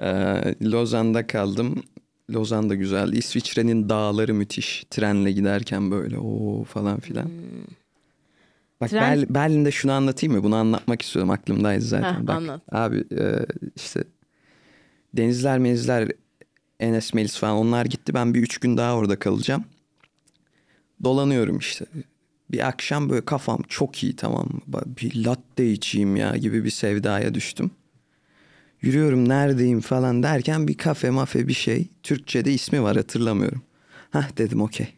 Speaker 2: Ee, Lozan'da kaldım. Lozan da güzel. İsviçre'nin dağları müthiş. Trenle giderken böyle o falan filan. Bak
Speaker 1: Tren-
Speaker 2: Berl- Berlin'de şunu anlatayım mı? Bunu anlatmak istiyorum. Aklımdaydı zaten.
Speaker 1: Heh,
Speaker 2: Bak,
Speaker 1: anlat.
Speaker 2: Abi e, işte denizler menizler Enes Melis falan onlar gitti. Ben bir üç gün daha orada kalacağım. Dolanıyorum işte. Bir akşam böyle kafam çok iyi tamam mı? Ba- Bir latte içeyim ya gibi bir sevdaya düştüm. Yürüyorum neredeyim falan derken bir kafe mafe bir şey. Türkçe'de ismi var hatırlamıyorum. Hah dedim okey.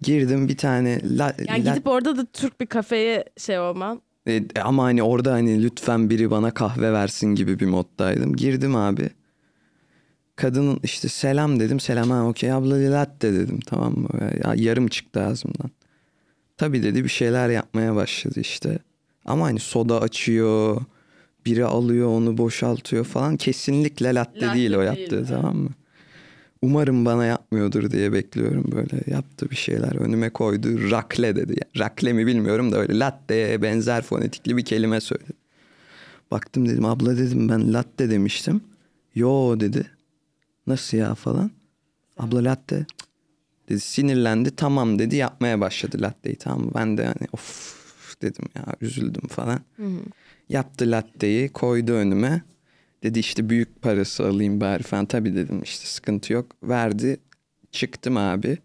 Speaker 2: Girdim bir tane la,
Speaker 1: Yani
Speaker 2: la-
Speaker 1: gidip orada da Türk bir kafeye şey olman.
Speaker 2: e, ama hani orada hani lütfen biri bana kahve versin gibi bir moddaydım. Girdim abi. Kadının işte selam dedim. Selam ha okey abla latte dedim tamam mı? Ya, yarım çıktı ağzımdan. Tabii dedi bir şeyler yapmaya başladı işte. Ama hani soda açıyor. Biri alıyor onu boşaltıyor falan. Kesinlikle latte
Speaker 1: Latte
Speaker 2: değil o
Speaker 1: değil,
Speaker 2: yaptığı
Speaker 1: evet.
Speaker 2: tamam mı? Umarım bana yapmıyordur diye bekliyorum böyle. Yaptı bir şeyler önüme koydu. Rakle dedi. Ya, rakle mi bilmiyorum da öyle latte benzer fonetikli bir kelime söyledi. Baktım dedim abla dedim ben latte demiştim. Yo dedi. Nasıl ya falan. Abla latte. Cık. Dedi sinirlendi tamam dedi yapmaya başladı latteyi tamam. Ben de hani of dedim ya üzüldüm falan. Yaptı latteyi koydu önüme. Dedi işte büyük parası alayım bari falan. Tabii dedim işte sıkıntı yok. Verdi. Çıktım abi.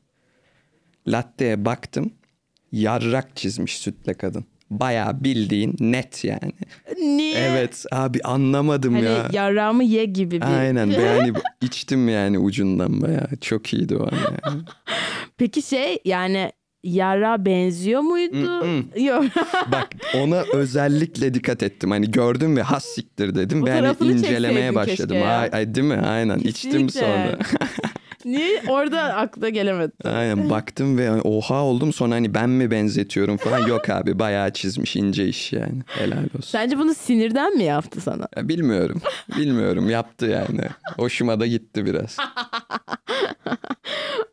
Speaker 2: Latte'ye baktım. Yarrak çizmiş sütle kadın. Bayağı bildiğin net yani.
Speaker 1: Niye?
Speaker 2: Evet abi anlamadım
Speaker 1: Hani
Speaker 2: ya.
Speaker 1: yarrağımı ye gibi bir.
Speaker 2: Aynen yani içtim yani ucundan bayağı. Çok iyiydi o an yani.
Speaker 1: Peki şey yani yarrağa benziyor muydu? Yok.
Speaker 2: Bak ona özellikle dikkat ettim. Hani gördüm ve has siktir dedim.
Speaker 1: Bu
Speaker 2: ve hani
Speaker 1: tarafını
Speaker 2: incelemeye
Speaker 1: çekseydin
Speaker 2: başladım.
Speaker 1: keşke ya.
Speaker 2: Ay, ay, değil mi? Aynen içtim
Speaker 1: Kesinlikle.
Speaker 2: sonra.
Speaker 1: Niye? Orada akla gelemedi.
Speaker 2: Aynen baktım ve hani oha oldum sonra hani ben mi benzetiyorum falan yok abi bayağı çizmiş ince iş yani helal olsun.
Speaker 1: Sence bunu sinirden mi yaptı sana?
Speaker 2: Ya bilmiyorum bilmiyorum yaptı yani hoşuma da gitti biraz.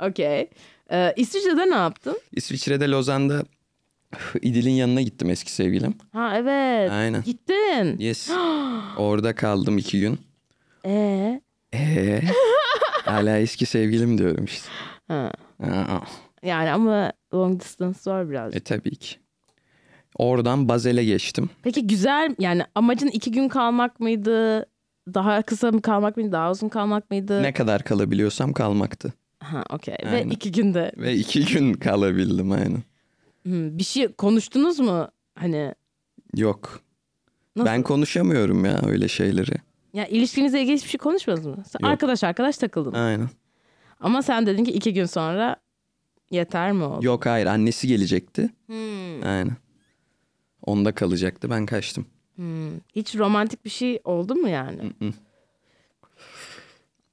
Speaker 1: Okey. Ee, İsviçre'de ne yaptın?
Speaker 2: İsviçre'de Lozan'da İdil'in yanına gittim eski sevgilim.
Speaker 1: Ha evet.
Speaker 2: Aynen.
Speaker 1: Gittin.
Speaker 2: Yes orada kaldım iki gün.
Speaker 1: Ee,
Speaker 2: Eee hala eski sevgilim diyorum işte.
Speaker 1: ha.
Speaker 2: Aa,
Speaker 1: Yani ama long distance var birazcık.
Speaker 2: e tabii ki. Oradan Bazel'e geçtim.
Speaker 1: Peki güzel yani amacın iki gün kalmak mıydı? Daha kısa mı kalmak mıydı? Daha uzun kalmak mıydı?
Speaker 2: Ne kadar kalabiliyorsam kalmaktı.
Speaker 1: Ha okey. Ve
Speaker 2: Aynen.
Speaker 1: iki günde.
Speaker 2: Ve iki gün kalabildim aynen.
Speaker 1: Hmm, bir şey konuştunuz mu? Hani
Speaker 2: Yok.
Speaker 1: Nasıl?
Speaker 2: Ben konuşamıyorum ya öyle şeyleri.
Speaker 1: ya ilişkinize ilgili hiçbir şey konuşmadınız mı? Sen
Speaker 2: Yok.
Speaker 1: arkadaş arkadaş takıldın.
Speaker 2: Aynen.
Speaker 1: Ama sen dedin ki iki gün sonra yeter mi oldu?
Speaker 2: Yok hayır annesi gelecekti.
Speaker 1: Hmm,
Speaker 2: Aynen. Onda kalacaktı ben kaçtım.
Speaker 1: hmm. Hiç romantik bir şey oldu mu yani?
Speaker 2: Mm.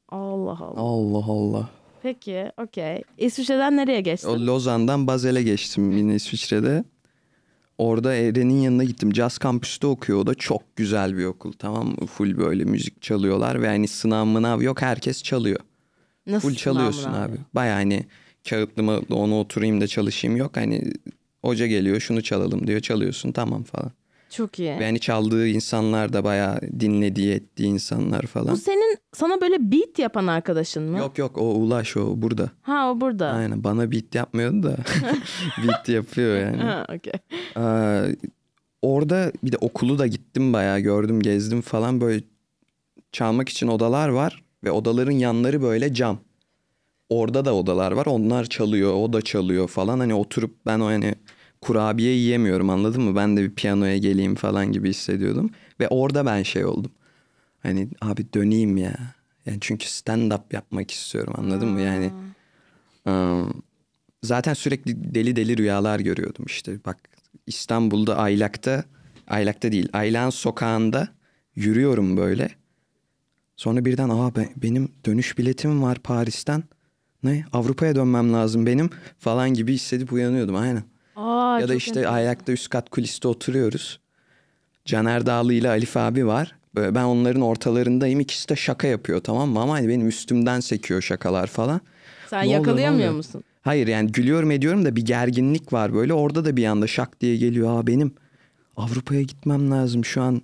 Speaker 1: Allah Allah.
Speaker 2: Allah Allah.
Speaker 1: Peki okey. İsviçre'den nereye geçtin?
Speaker 2: O Lozan'dan Bazel'e geçtim yine İsviçre'de. Orada Eren'in yanına gittim. Caz kampüste okuyor o da. Çok güzel bir okul tamam mı? Full böyle müzik çalıyorlar ve hani sınav mınav yok herkes çalıyor.
Speaker 1: Nasıl
Speaker 2: Full çalıyorsun
Speaker 1: sınavlar?
Speaker 2: abi. Baya hani kağıtlı mı onu oturayım da çalışayım yok. Hani hoca geliyor şunu çalalım diyor çalıyorsun tamam falan.
Speaker 1: Çok iyi.
Speaker 2: Ve hani çaldığı insanlar da bayağı dinlediği ettiği insanlar
Speaker 1: Bu
Speaker 2: falan.
Speaker 1: senin sana böyle beat yapan arkadaşın mı?
Speaker 2: Yok yok o Ulaş o burada.
Speaker 1: Ha o burada.
Speaker 2: Aynen bana beat yapmıyordu da beat yapıyor yani.
Speaker 1: Ha okey.
Speaker 2: Ee, orada bir de okulu da gittim bayağı gördüm gezdim falan böyle çalmak için odalar var. Ve odaların yanları böyle cam. Orada da odalar var onlar çalıyor o da çalıyor falan. Hani oturup ben o hani kurabiye yiyemiyorum anladın mı? Ben de bir piyanoya geleyim falan gibi hissediyordum. Ve orada ben şey oldum. Hani abi döneyim ya. Yani çünkü stand up yapmak istiyorum anladın mı? Yani ım, zaten sürekli deli deli rüyalar görüyordum işte. Bak İstanbul'da Aylak'ta Aylak'ta değil Aylan sokağında yürüyorum böyle. Sonra birden aa be- benim dönüş biletim var Paris'ten. Ne Avrupa'ya dönmem lazım benim falan gibi hissedip uyanıyordum aynen.
Speaker 1: Aa,
Speaker 2: Ya da
Speaker 1: çok
Speaker 2: işte
Speaker 1: enteresan.
Speaker 2: ayakta üst kat kuliste oturuyoruz. Caner Dağlı ile Alif abi var. Böyle ben onların ortalarındayım. İkisi de şaka yapıyor tamam mı? Ama hani benim üstümden sekiyor şakalar falan.
Speaker 1: Sen
Speaker 2: Ne oluyor, ne
Speaker 1: yakalayamıyor
Speaker 2: oluyor?
Speaker 1: musun?
Speaker 2: Hayır yani gülüyorum ediyorum da bir gerginlik var böyle. Orada da bir anda şak diye geliyor. Aa benim Avrupa'ya gitmem lazım şu an.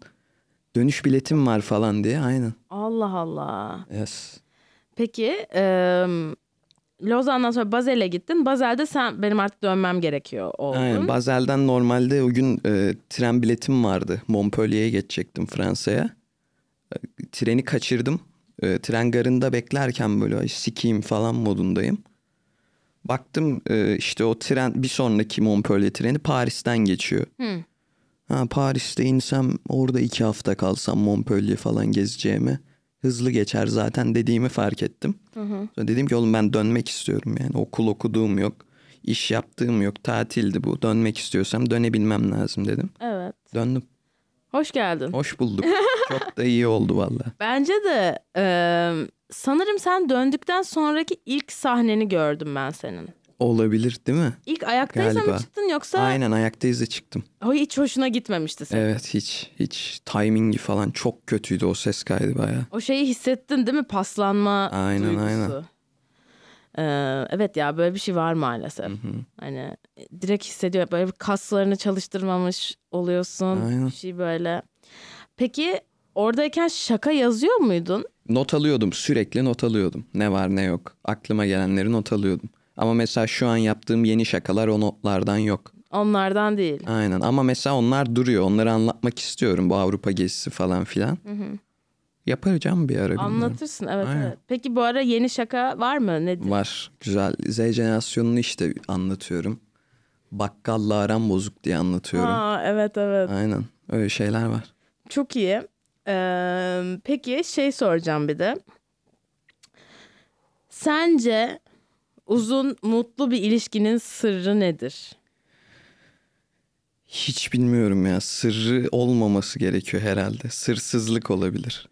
Speaker 2: Dönüş biletim var falan diye. Aynen.
Speaker 1: Allah Allah.
Speaker 2: Yes.
Speaker 1: Peki e, Lozan'dan sonra Bazel'e gittin. Bazel'de sen benim artık dönmem gerekiyor oldun.
Speaker 2: Aynen. Bazel'den normalde o gün e, tren biletim vardı. Montpellier'e geçecektim Fransa'ya. E, treni kaçırdım. E, tren garında beklerken böyle "Ay, sikeyim falan modundayım. Baktım e, işte o tren bir sonraki Montpellier treni Paris'ten geçiyor.
Speaker 1: Hı.
Speaker 2: Ha, Paris'te insem orada iki hafta kalsam Montpellier falan gezeceğimi hızlı geçer zaten dediğimi fark ettim. Sonra dedim ki oğlum ben dönmek istiyorum yani okul okuduğum yok. iş yaptığım yok tatildi bu dönmek istiyorsam dönebilmem lazım dedim.
Speaker 1: Evet.
Speaker 2: Döndüm
Speaker 1: Hoş geldin.
Speaker 2: hoş bulduk çok da iyi oldu valla.
Speaker 1: Bence de e, sanırım sen döndükten sonraki ilk sahneni gördüm ben senin.
Speaker 2: Olabilir değil mi?
Speaker 1: İlk ayaktaysa mı
Speaker 2: Galiba.
Speaker 1: çıktın yoksa
Speaker 2: Aynen ayaktayız da çıktım.
Speaker 1: o hiç hoşuna gitmemişti senin.
Speaker 2: Evet hiç hiç timingi falan çok kötüydü o ses kaydı baya.
Speaker 1: O şeyi hissettin değil mi? Paslanma
Speaker 2: Aynen,
Speaker 1: duygusu.
Speaker 2: aynen.
Speaker 1: Ee, evet ya böyle bir şey var maalesef. Hani direkt hissediyor böyle bir kaslarını çalıştırmamış oluyorsun.
Speaker 2: Aynen.
Speaker 1: Bir şey böyle. Peki oradayken şaka yazıyor muydun?
Speaker 2: Not alıyordum sürekli not alıyordum. Ne var ne yok. Aklıma gelenleri not alıyordum. Ama mesela şu an yaptığım yeni şakalar o notlardan yok.
Speaker 1: Onlardan değil.
Speaker 2: Aynen ama mesela onlar duruyor. Onları anlatmak istiyorum bu Avrupa gezisi falan filan. Yapacağım bir ara. bilmiyorum.
Speaker 1: Anlatırsın evet
Speaker 2: Aynen.
Speaker 1: evet. Peki bu ara yeni şaka var mı? Nedir?
Speaker 2: Var güzel. Z jenerasyonunu işte anlatıyorum. Bakkalla aram bozuk diye anlatıyorum.
Speaker 1: Ha, evet evet.
Speaker 2: Aynen öyle şeyler var.
Speaker 1: Çok iyi. Ee, peki şey soracağım bir de. Sence uzun mutlu bir ilişkinin sırrı nedir?
Speaker 2: Hiç bilmiyorum ya sırrı olmaması gerekiyor herhalde. Sırsızlık olabilir.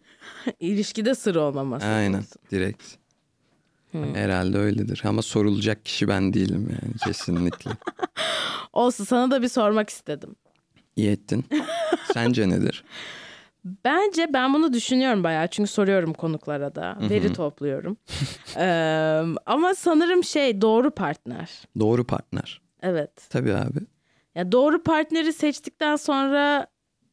Speaker 1: İlişkide sır olmaması.
Speaker 2: Aynen direkt. Herhalde öyledir ama sorulacak kişi ben değilim yani kesinlikle.
Speaker 1: Olsun sana da bir sormak istedim.
Speaker 2: İyi ettin. Sence nedir?
Speaker 1: Bence ben bunu düşünüyorum bayağı çünkü soruyorum konuklara da veri topluyorum. Ee, ama sanırım şey doğru partner.
Speaker 2: Doğru partner.
Speaker 1: Evet.
Speaker 2: Tabii abi.
Speaker 1: Ya doğru partneri seçtikten sonra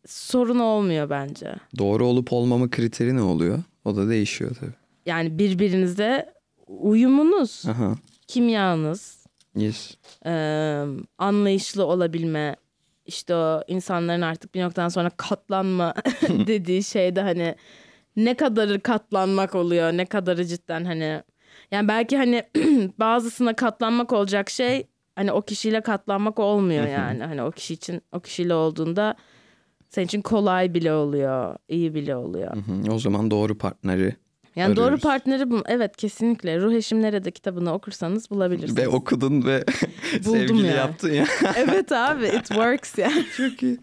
Speaker 1: sorun olmuyor bence.
Speaker 2: Doğru olup olmama kriteri ne oluyor? O da değişiyor tabii.
Speaker 1: Yani birbirinize uyumunuz,
Speaker 2: Aha.
Speaker 1: kimyanız,
Speaker 2: Yes.
Speaker 1: e, anlayışlı olabilme, işte o insanların artık bir noktadan sonra katlanma dediği şeyde hani ne kadarı katlanmak oluyor, ne kadarı cidden hani yani belki hani bazısına katlanmak olacak şey hani o kişiyle katlanmak olmuyor yani. Hani o kişi için o kişiyle olduğunda senin için kolay bile oluyor, iyi bile oluyor.
Speaker 2: Hı, O zaman doğru partneri
Speaker 1: Yani doğru
Speaker 2: Arıyoruz.
Speaker 1: partneri bu. Evet kesinlikle. Ruh Eşim Nerede kitabını okursanız bulabilirsiniz.
Speaker 2: Ve okudun ve sevgili
Speaker 1: yani.
Speaker 2: yaptın ya.
Speaker 1: evet abi it works yani.
Speaker 2: Çok iyi.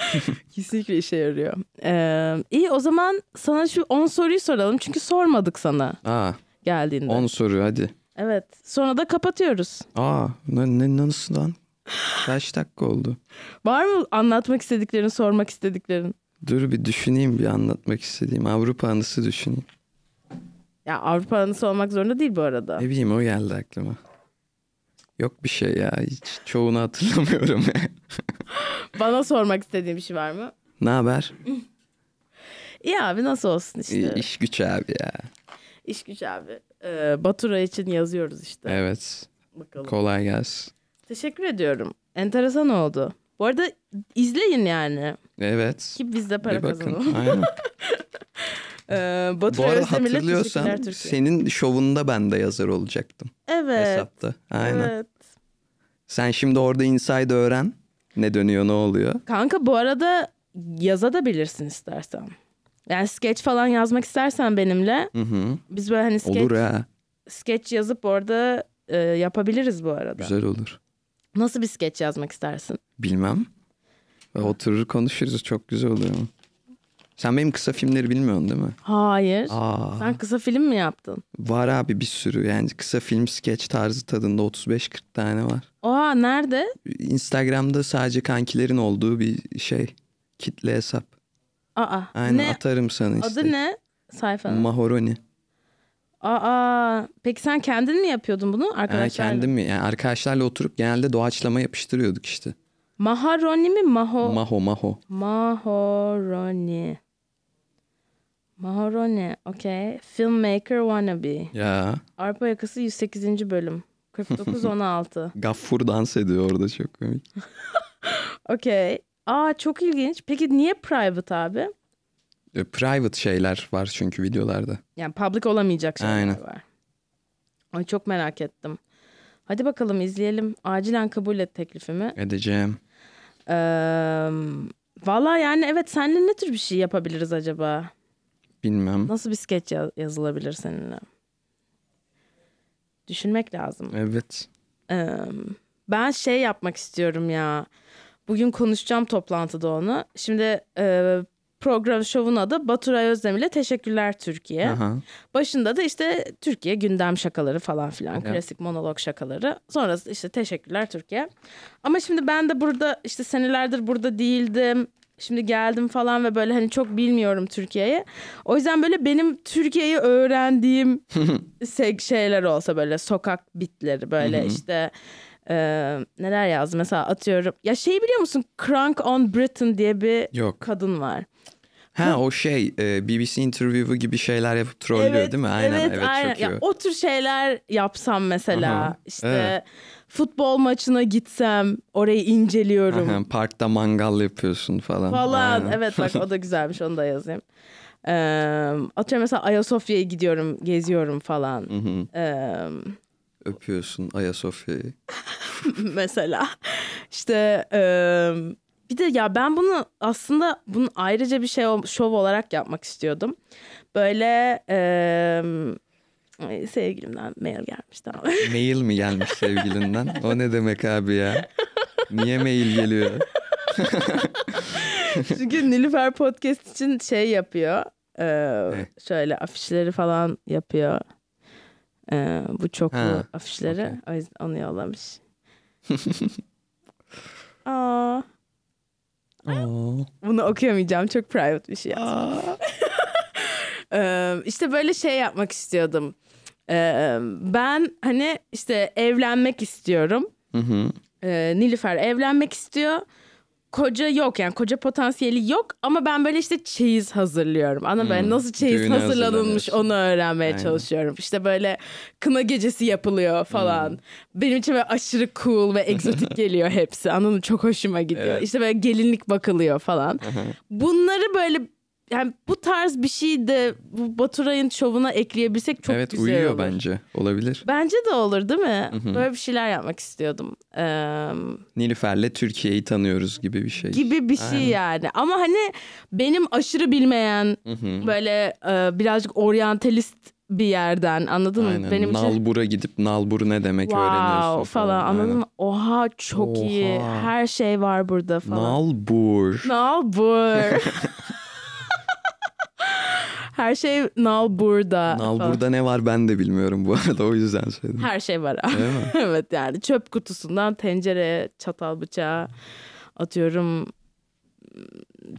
Speaker 1: kesinlikle işe yarıyor. Ee, iyi o zaman sana şu 10 soruyu soralım. Çünkü sormadık sana
Speaker 2: Aa,
Speaker 1: geldiğinde.
Speaker 2: 10 soru hadi.
Speaker 1: Evet. Sonra da kapatıyoruz.
Speaker 2: Aa, ne, ne, nasıl lan? Kaç dakika oldu?
Speaker 1: Var mı anlatmak istediklerin, sormak istediklerin?
Speaker 2: Dur bir düşüneyim bir anlatmak istediğim. Avrupa anısı düşüneyim.
Speaker 1: Ya Avrupa anısı olmak zorunda değil bu arada.
Speaker 2: Ne bileyim o geldi aklıma. Yok bir şey ya. Hiç çoğunu hatırlamıyorum.
Speaker 1: Bana sormak istediğin bir şey var mı?
Speaker 2: ne haber?
Speaker 1: İyi abi nasıl olsun işte.
Speaker 2: İyi, İş güç abi ya.
Speaker 1: İş güç abi. Ee, Batura için yazıyoruz işte.
Speaker 2: Evet.
Speaker 1: Bakalım.
Speaker 2: Kolay gelsin.
Speaker 1: Teşekkür ediyorum. Enteresan oldu. Bu arada izleyin yani.
Speaker 2: Evet.
Speaker 1: Ki biz de para
Speaker 2: bir bakın.
Speaker 1: kazanalım.
Speaker 2: Aynen.
Speaker 1: Ee, Batu
Speaker 2: Bu arada
Speaker 1: Özdemir'le Teşekkürler
Speaker 2: hatırlıyorsan
Speaker 1: Türkiye.
Speaker 2: senin şovunda ben de yazar olacaktım.
Speaker 1: evet.
Speaker 2: Hesapta. Aynen.
Speaker 1: Evet.
Speaker 2: Sen şimdi orada inside öğren. Ne dönüyor ne oluyor.
Speaker 1: Kanka bu arada yaza da bilirsin istersen. Yani sketch falan yazmak istersen benimle.
Speaker 2: Hı hı.
Speaker 1: Biz böyle hani sketch,
Speaker 2: Olur ha.
Speaker 1: sketch yazıp orada e, yapabiliriz bu arada.
Speaker 2: Güzel olur.
Speaker 1: Nasıl bir sketch yazmak istersin?
Speaker 2: Bilmem. E, Oturur konuşuruz. Çok güzel oluyor. Sen benim kısa filmleri bilmiyorsun değil mi?
Speaker 1: Hayır.
Speaker 2: Aa,
Speaker 1: Sen kısa film mi yaptın?
Speaker 2: var abi bir sürü yani kısa film skeç tarzı tadında 35-40 tane var.
Speaker 1: Oha nerede?
Speaker 2: Instagram'da sadece kankilerin olduğu bir şey. Kitle hesap.
Speaker 1: Aa.
Speaker 2: Aynen
Speaker 1: ne?
Speaker 2: atarım sana işte.
Speaker 1: Adı ne sayfanın?
Speaker 2: Mahoroni.
Speaker 1: Aa, peki sen kendin mi yapıyordun bunu
Speaker 2: Yani
Speaker 1: arkadaşlar?
Speaker 2: kendim mi? Yani arkadaşlarla oturup genelde doğaçlama yapıştırıyorduk işte.
Speaker 1: Maharoni mi? Maho.
Speaker 2: Maho maho.
Speaker 1: Mahoroni. Mahoroni. Okey. Filmmaker wannabe.
Speaker 2: Ya
Speaker 1: Arpa yakası 108. bölüm. 49-16.
Speaker 2: gaffur dans ediyor orada çok komik.
Speaker 1: Okey. Aa çok ilginç. Peki niye private abi?
Speaker 2: E, Private şeyler var çünkü videolarda.
Speaker 1: Yani public olamayacak şeyler
Speaker 2: Aynen.
Speaker 1: var. Ay çok merak ettim. Hadi bakalım izleyelim. Acilen kabul et teklifimi.
Speaker 2: Edeceğim.
Speaker 1: Eee Valla yani evet seninle ne tür bir şey yapabiliriz acaba?
Speaker 2: Bilmem.
Speaker 1: Nasıl bir skeç ya- yazılabilir seninle? Düşünmek lazım.
Speaker 2: Evet.
Speaker 1: Eee, ben şey yapmak istiyorum ya. Bugün konuşacağım toplantıda onu. Şimdi eee, program şovun adı Baturay Özdemir ile Teşekkürler Türkiye.
Speaker 2: Aha.
Speaker 1: Başında da işte Türkiye gündem şakaları falan filan klasik monolog şakaları. Sonrası işte teşekkürler Türkiye. Ama şimdi ben de burada işte senelerdir burada değildim. Şimdi geldim falan ve böyle hani çok bilmiyorum Türkiye'yi. O yüzden böyle benim Türkiye'yi öğrendiğim sek- şeyler olsa böyle sokak bitleri böyle işte e, neler yazdı mesela atıyorum. Ya şeyi biliyor musun? Crank on Britain diye bir
Speaker 2: Yok.
Speaker 1: kadın var.
Speaker 2: Ha o şey e, BBC interview'u gibi şeyler yapıp trollüyor değil mi? Aynen evet, çok iyi.
Speaker 1: Ya, o tür şeyler yapsam mesela
Speaker 2: Aha,
Speaker 1: işte
Speaker 2: evet.
Speaker 1: futbol maçına gitsem orayı inceliyorum
Speaker 2: Aha, parkta mangal yapıyorsun falan.
Speaker 1: falan.
Speaker 2: Aynen.
Speaker 1: Evet bak o da güzelmiş onu da yazayım. Ee, atıyorum mesela Ayasofya'ya gidiyorum geziyorum falan. Ee,
Speaker 2: Öpüyorsun Ayasofya'yı.
Speaker 1: mesela işte e, bir de ya ben bunu aslında bunu ayrıca bir şey ol- şov olarak yapmak istiyordum. Böyle e, ay, sevgilimden mail gelmiş tamam.
Speaker 2: Mail mi gelmiş sevgilinden? O ne demek abi ya? Niye mail geliyor?
Speaker 1: Çünkü Nilüfer Podcast için şey yapıyor. Ee, Şöyle afişleri falan yapıyor. Ee, bu çoklu
Speaker 2: Ha,
Speaker 1: afişleri.
Speaker 2: okey.
Speaker 1: O yüzden onu yollamış. Aa,
Speaker 2: Oo.
Speaker 1: bunu okuyamayacağım. Çok private bir şey yazmış. Ee, işte böyle şey yapmak istiyordum. Ee, ben hani işte evlenmek istiyorum.
Speaker 2: Hı hı.
Speaker 1: e, Nilüfer evlenmek istiyor. Koca yok yani koca potansiyeli yok ama ben böyle işte çeyiz hazırlıyorum. Anladın mı?
Speaker 2: Hmm,
Speaker 1: Nasıl çeyiz
Speaker 2: düğüne
Speaker 1: hazırlanılmış
Speaker 2: hazırlanıyorsun.
Speaker 1: onu öğrenmeye
Speaker 2: Aynen.
Speaker 1: çalışıyorum. İşte böyle kına gecesi yapılıyor falan.
Speaker 2: Hmm.
Speaker 1: Benim için böyle aşırı cool ve egzotik geliyor hepsi. Anladın mı? Çok hoşuma gidiyor.
Speaker 2: Evet.
Speaker 1: İşte böyle gelinlik bakılıyor falan. Bunları böyle yani bu tarz bir şey de bu Baturay'ın şovuna ekleyebilsek çok
Speaker 2: evet
Speaker 1: güzel
Speaker 2: uyuyor
Speaker 1: olur.
Speaker 2: bence. Olabilir.
Speaker 1: Bence de olur değil mi?
Speaker 2: hı.
Speaker 1: Böyle bir şeyler yapmak istiyordum. Eee
Speaker 2: Nilüfer'le Türkiye'yi tanıyoruz gibi bir şey.
Speaker 1: gibi bir şey
Speaker 2: Aynen.
Speaker 1: yani. Ama hani benim aşırı bilmeyen
Speaker 2: Hı hı.
Speaker 1: böyle e, birazcık oryantalist bir yerden anladın mı?
Speaker 2: Aynen.
Speaker 1: Benim için
Speaker 2: Nalbur'a gidip Nalbur ne demek
Speaker 1: wow
Speaker 2: öğreniyorsun
Speaker 1: falan,
Speaker 2: falan.
Speaker 1: anladın
Speaker 2: Aynen.
Speaker 1: mı? Oha çok iyi.
Speaker 2: Oha.
Speaker 1: Her şey var burada falan.
Speaker 2: Nalbur.
Speaker 1: Nalbur. Her şey Nalbur'da. falan.
Speaker 2: Nalbur'da ne var ben de bilmiyorum bu arada o yüzden söyledim.
Speaker 1: Her şey var. abi.
Speaker 2: Değil mi?
Speaker 1: evet yani çöp kutusundan tencereye, çatal bıçağa atıyorum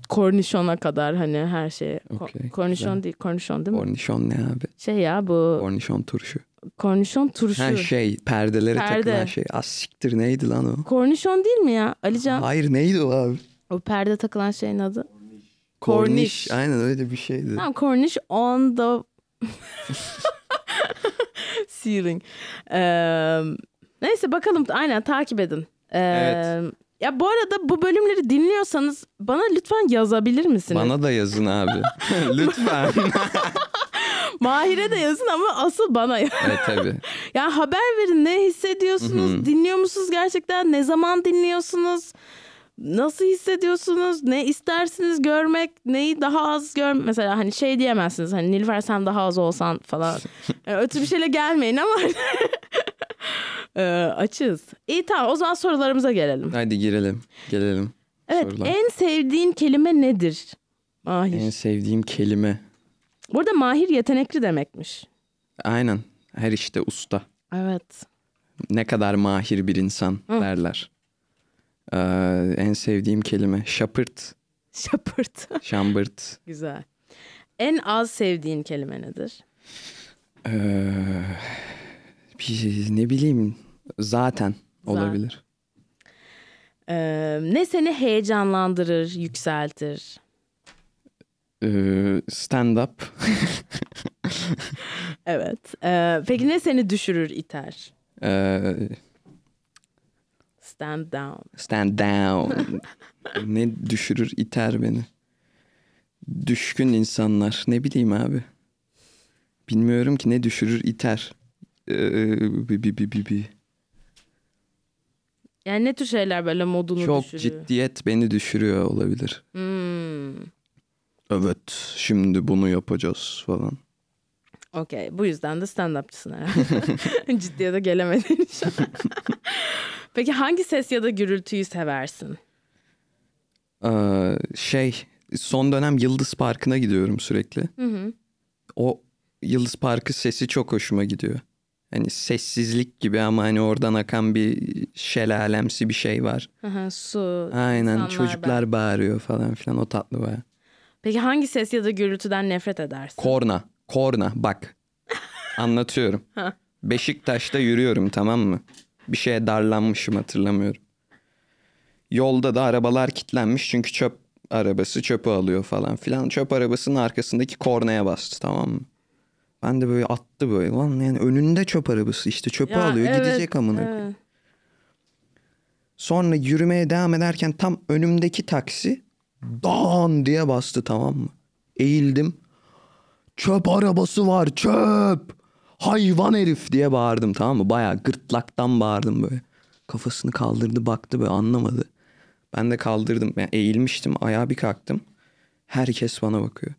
Speaker 1: kornişona kadar hani her şey. Ko-
Speaker 2: Okey,
Speaker 1: kornişon
Speaker 2: güzel.
Speaker 1: değil, kornişon değil mi?
Speaker 2: Kornişon ne abi?
Speaker 1: şey ya bu
Speaker 2: Kornişon turşu.
Speaker 1: kornişon turşu.
Speaker 2: Ha şey perdelere
Speaker 1: Perde.
Speaker 2: takılan şey. Az siktir neydi lan o?
Speaker 1: Kornişon değil mi ya Alican?
Speaker 2: Hayır neydi o abi?
Speaker 1: O perde takılan şeyin adı.
Speaker 2: Korniş.
Speaker 1: Korniş.
Speaker 2: Aynen öyle bir şeydi.
Speaker 1: Tamam korniş on the ceiling. Ee, neyse bakalım aynen takip edin. Ee,
Speaker 2: Evet.
Speaker 1: Ya bu arada bu bölümleri dinliyorsanız bana lütfen yazabilir misiniz?
Speaker 2: Bana da yazın abi. Lütfen.
Speaker 1: Mahir'e de yazın ama asıl bana ya.
Speaker 2: evet tabii.
Speaker 1: Yani haber verin ne hissediyorsunuz? Dinliyor musunuz gerçekten? Ne zaman dinliyorsunuz? Nasıl hissediyorsunuz? Ne istersiniz görmek? Neyi daha az gör? Mesela hani şey diyemezsiniz. Hani Nilüfer sen daha az olsan falan. Yani ötü bir şeyle gelmeyin ama. Ee, açız. İyi tamam o zaman sorularımıza gelelim.
Speaker 2: Hadi girelim. Gelelim.
Speaker 1: Evet
Speaker 2: sorular.
Speaker 1: en sevdiğin kelime nedir? Mahir.
Speaker 2: En sevdiğim kelime.
Speaker 1: Burada Mahir yetenekli demekmiş.
Speaker 2: Aynen. Her işte usta.
Speaker 1: Evet.
Speaker 2: Ne kadar mahir bir insan derler. Ee, en sevdiğim kelime. Şapırt.
Speaker 1: Şapırt.
Speaker 2: Şambırt.
Speaker 1: Güzel. En az sevdiğin kelime nedir?
Speaker 2: Ee, bir- ne bileyim. Zaten olabilir.
Speaker 1: Ee, ne seni heyecanlandırır, yükseltir?
Speaker 2: Ee, stand up.
Speaker 1: Evet. Ee, peki ne seni düşürür, iter?
Speaker 2: Ee,
Speaker 1: Stand down.
Speaker 2: stand down. ne düşürür iter beni. Düşkün insanlar. Ne bileyim abi. Bilmiyorum ki ne düşürür iter. Ee, bi, bi, bi, bi, bi.
Speaker 1: Yani ne tür şeyler böyle modunu
Speaker 2: Çok
Speaker 1: düşürür?
Speaker 2: ciddiyet beni düşürüyor olabilir.
Speaker 1: Hmm.
Speaker 2: Evet şimdi bunu yapacağız falan.
Speaker 1: Okey. Bu yüzden de stand-upçısın herhalde. Ciddiye de gelemedin şu an. Peki hangi ses ya da gürültüyü seversin?
Speaker 2: Ee, şey son dönem Yıldız Parkı'na gidiyorum sürekli.
Speaker 1: Hı hı.
Speaker 2: O Yıldız Parkı sesi çok hoşuma gidiyor. Hani sessizlik gibi ama hani oradan akan bir şelalemsi bir şey var.
Speaker 1: Aha, su.
Speaker 2: Aynen
Speaker 1: insanlar
Speaker 2: çocuklar bağırıyor falan filan o tatlı baya.
Speaker 1: Peki hangi ses ya da gürültüden nefret edersin?
Speaker 2: Korna. Korna bak. Anlatıyorum. Beşiktaş'ta yürüyorum tamam mı? Bir şeye darlanmışım hatırlamıyorum. Yolda da arabalar kilitlenmiş çünkü çöp arabası çöpü alıyor falan filan. Çöp arabasının arkasındaki kornaya bastı tamam mı? Ben de böyle attı böyle. Lan yani önünde çöp arabası işte çöpü
Speaker 1: Ya,
Speaker 2: alıyor
Speaker 1: evet,
Speaker 2: gidecek amına. koyayım.
Speaker 1: evet.
Speaker 2: Sonra yürümeye devam ederken tam önümdeki taksi dan diye bastı tamam mı? Eğildim. Çöp arabası var çöp. Hayvan herif diye bağırdım tamam mı? Bayağı gırtlaktan bağırdım böyle. Kafasını kaldırdı baktı böyle anlamadı. Ben de kaldırdım. Yani eğilmiştim ayağa bir kalktım. Herkes bana bakıyor.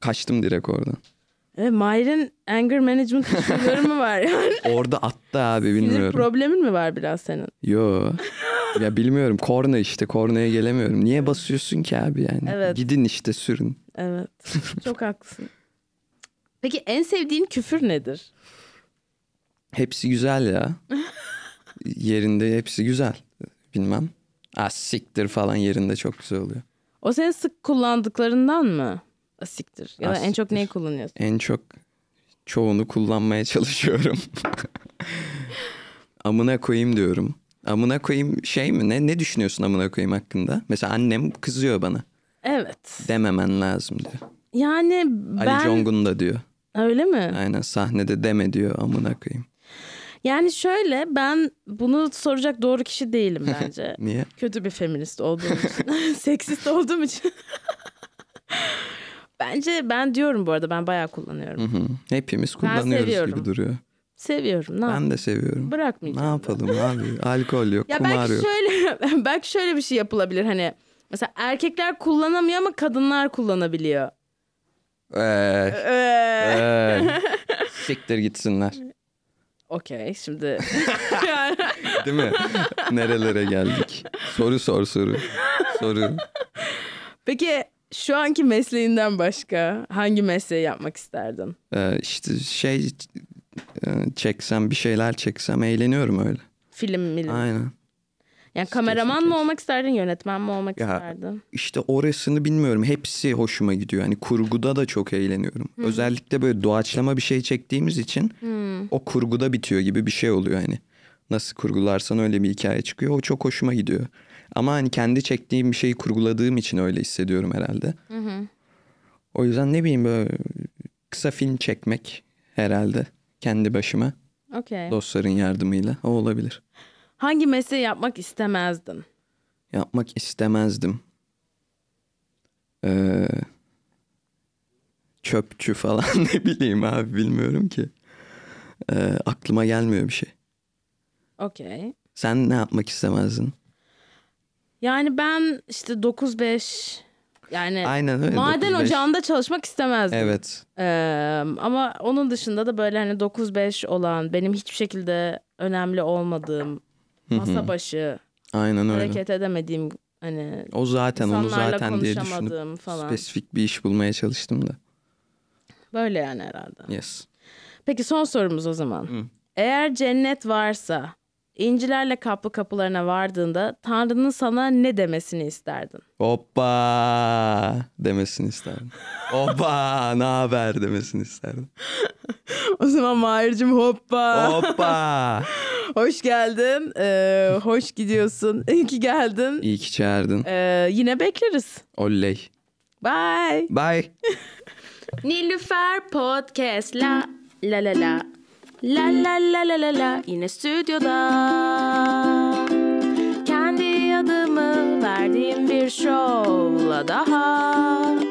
Speaker 2: Kaçtım direkt oradan.
Speaker 1: E, Mahir'in anger management şeyleri mi var yani?
Speaker 2: Orada attı abi
Speaker 1: Sinir
Speaker 2: bilmiyorum.
Speaker 1: problemin mi var biraz senin?
Speaker 2: Yo. ya bilmiyorum korna işte kornaya gelemiyorum. Niye basıyorsun ki abi yani?
Speaker 1: Evet.
Speaker 2: Gidin işte sürün.
Speaker 1: Evet. Çok haklısın. Peki en sevdiğin küfür nedir?
Speaker 2: Hepsi güzel ya. yerinde hepsi güzel. Bilmem. Ah siktir falan yerinde çok güzel oluyor.
Speaker 1: O senin sık kullandıklarından mı? Asiktir. Ya da
Speaker 2: Ah,
Speaker 1: en çok
Speaker 2: siktir.
Speaker 1: neyi kullanıyorsun?
Speaker 2: En çok çoğunu kullanmaya çalışıyorum. amına koyayım diyorum. Amına koyayım şey mi? Ne, ne düşünüyorsun amına koyayım hakkında? Mesela annem kızıyor bana.
Speaker 1: Evet.
Speaker 2: Dememen lazım diyor.
Speaker 1: Yani
Speaker 2: Ali
Speaker 1: ben...
Speaker 2: Congun da diyor.
Speaker 1: Öyle mi?
Speaker 2: Aynen sahnede deme diyor amına koyayım.
Speaker 1: Yani şöyle ben bunu soracak doğru kişi değilim bence.
Speaker 2: Niye?
Speaker 1: Kötü bir feminist olduğum için. Seksist olduğum için. bence ben diyorum bu arada ben bayağı kullanıyorum.
Speaker 2: Hı hı. Hepimiz kullanıyoruz
Speaker 1: seviyorum.
Speaker 2: gibi duruyor.
Speaker 1: Seviyorum. Ne yap-
Speaker 2: Ben de seviyorum. Ne
Speaker 1: Bırakmayacağım.
Speaker 2: yapalım abi? Alkol yok,
Speaker 1: Ya
Speaker 2: kumar
Speaker 1: belki
Speaker 2: yok.
Speaker 1: şöyle belki şöyle bir şey yapılabilir hani mesela erkekler kullanamıyor ama kadınlar kullanabiliyor.
Speaker 2: Ee,
Speaker 1: Ee,
Speaker 2: ee, siktir gitsinler.
Speaker 1: Okey şimdi yani,
Speaker 2: Değil mi? Nerelere geldik? Soru sor soru. Soru.
Speaker 1: peki şu anki mesleğinden başka hangi mesleği yapmak isterdin?
Speaker 2: Ee, işte şey e, çeksem bir şeyler çeksem eğleniyorum öyle.
Speaker 1: Film milim.
Speaker 2: Aynen.
Speaker 1: Yani kameraman mı
Speaker 2: kesin.
Speaker 1: olmak isterdin, yönetmen mi olmak
Speaker 2: Ya,
Speaker 1: isterdin?
Speaker 2: İşte orasını bilmiyorum. Hepsi hoşuma gidiyor. Hani kurguda da çok eğleniyorum. Özellikle böyle doğaçlama bir şey çektiğimiz için o kurguda bitiyor gibi bir şey oluyor hani. Nasıl kurgularsan öyle bir hikaye çıkıyor. O çok hoşuma gidiyor. Ama hani kendi çektiğim bir şeyi kurguladığım için öyle hissediyorum herhalde. O yüzden ne bileyim böyle kısa film çekmek herhalde kendi başıma
Speaker 1: Okey.
Speaker 2: dostların yardımıyla o olabilir.
Speaker 1: Hangi mesleği yapmak istemezdin?
Speaker 2: Yapmak istemezdim. Ee, çöpçü falan ne bileyim abi bilmiyorum ki. Ee, aklıma gelmiyor bir şey.
Speaker 1: Okey.
Speaker 2: Sen ne yapmak istemezdin?
Speaker 1: Yani ben işte 9-5 yani
Speaker 2: Aynen öyle.
Speaker 1: maden
Speaker 2: 9-5.
Speaker 1: ocağında çalışmak istemezdim.
Speaker 2: Evet.
Speaker 1: Ee, ama onun dışında da böyle hani 9-5 olan benim hiçbir şekilde önemli olmadığım masa başı
Speaker 2: Aynen öyle.
Speaker 1: hareket edemediğim hani
Speaker 2: O zaten onu
Speaker 1: insanlarla
Speaker 2: zaten diye düşündüm.
Speaker 1: konuşamadığım falan.
Speaker 2: Spesifik bir iş bulmaya çalıştım da.
Speaker 1: Böyle yani herhalde.
Speaker 2: Yes.
Speaker 1: Peki son sorumuz o zaman. Eğer cennet varsa incilerle kaplı kapılarına vardığında Tanrı'nın sana ne demesini isterdin?
Speaker 2: Hoppa demesini isterdim. Hoppa ne haber demesini isterdim.
Speaker 1: O zaman Mahir'cim hoppa.
Speaker 2: Hoppa.
Speaker 1: Hoş geldin. Ee, hoş gidiyorsun. İyi ki geldin.
Speaker 2: İyi ki çağırdın.
Speaker 1: Ee, yine bekleriz.
Speaker 2: Oley.
Speaker 1: Bye.
Speaker 2: Bye.
Speaker 3: Nilüfer Podcast la la la la La la la la la la yine stüdyoda Kendi adımı verdiğim bir şovla daha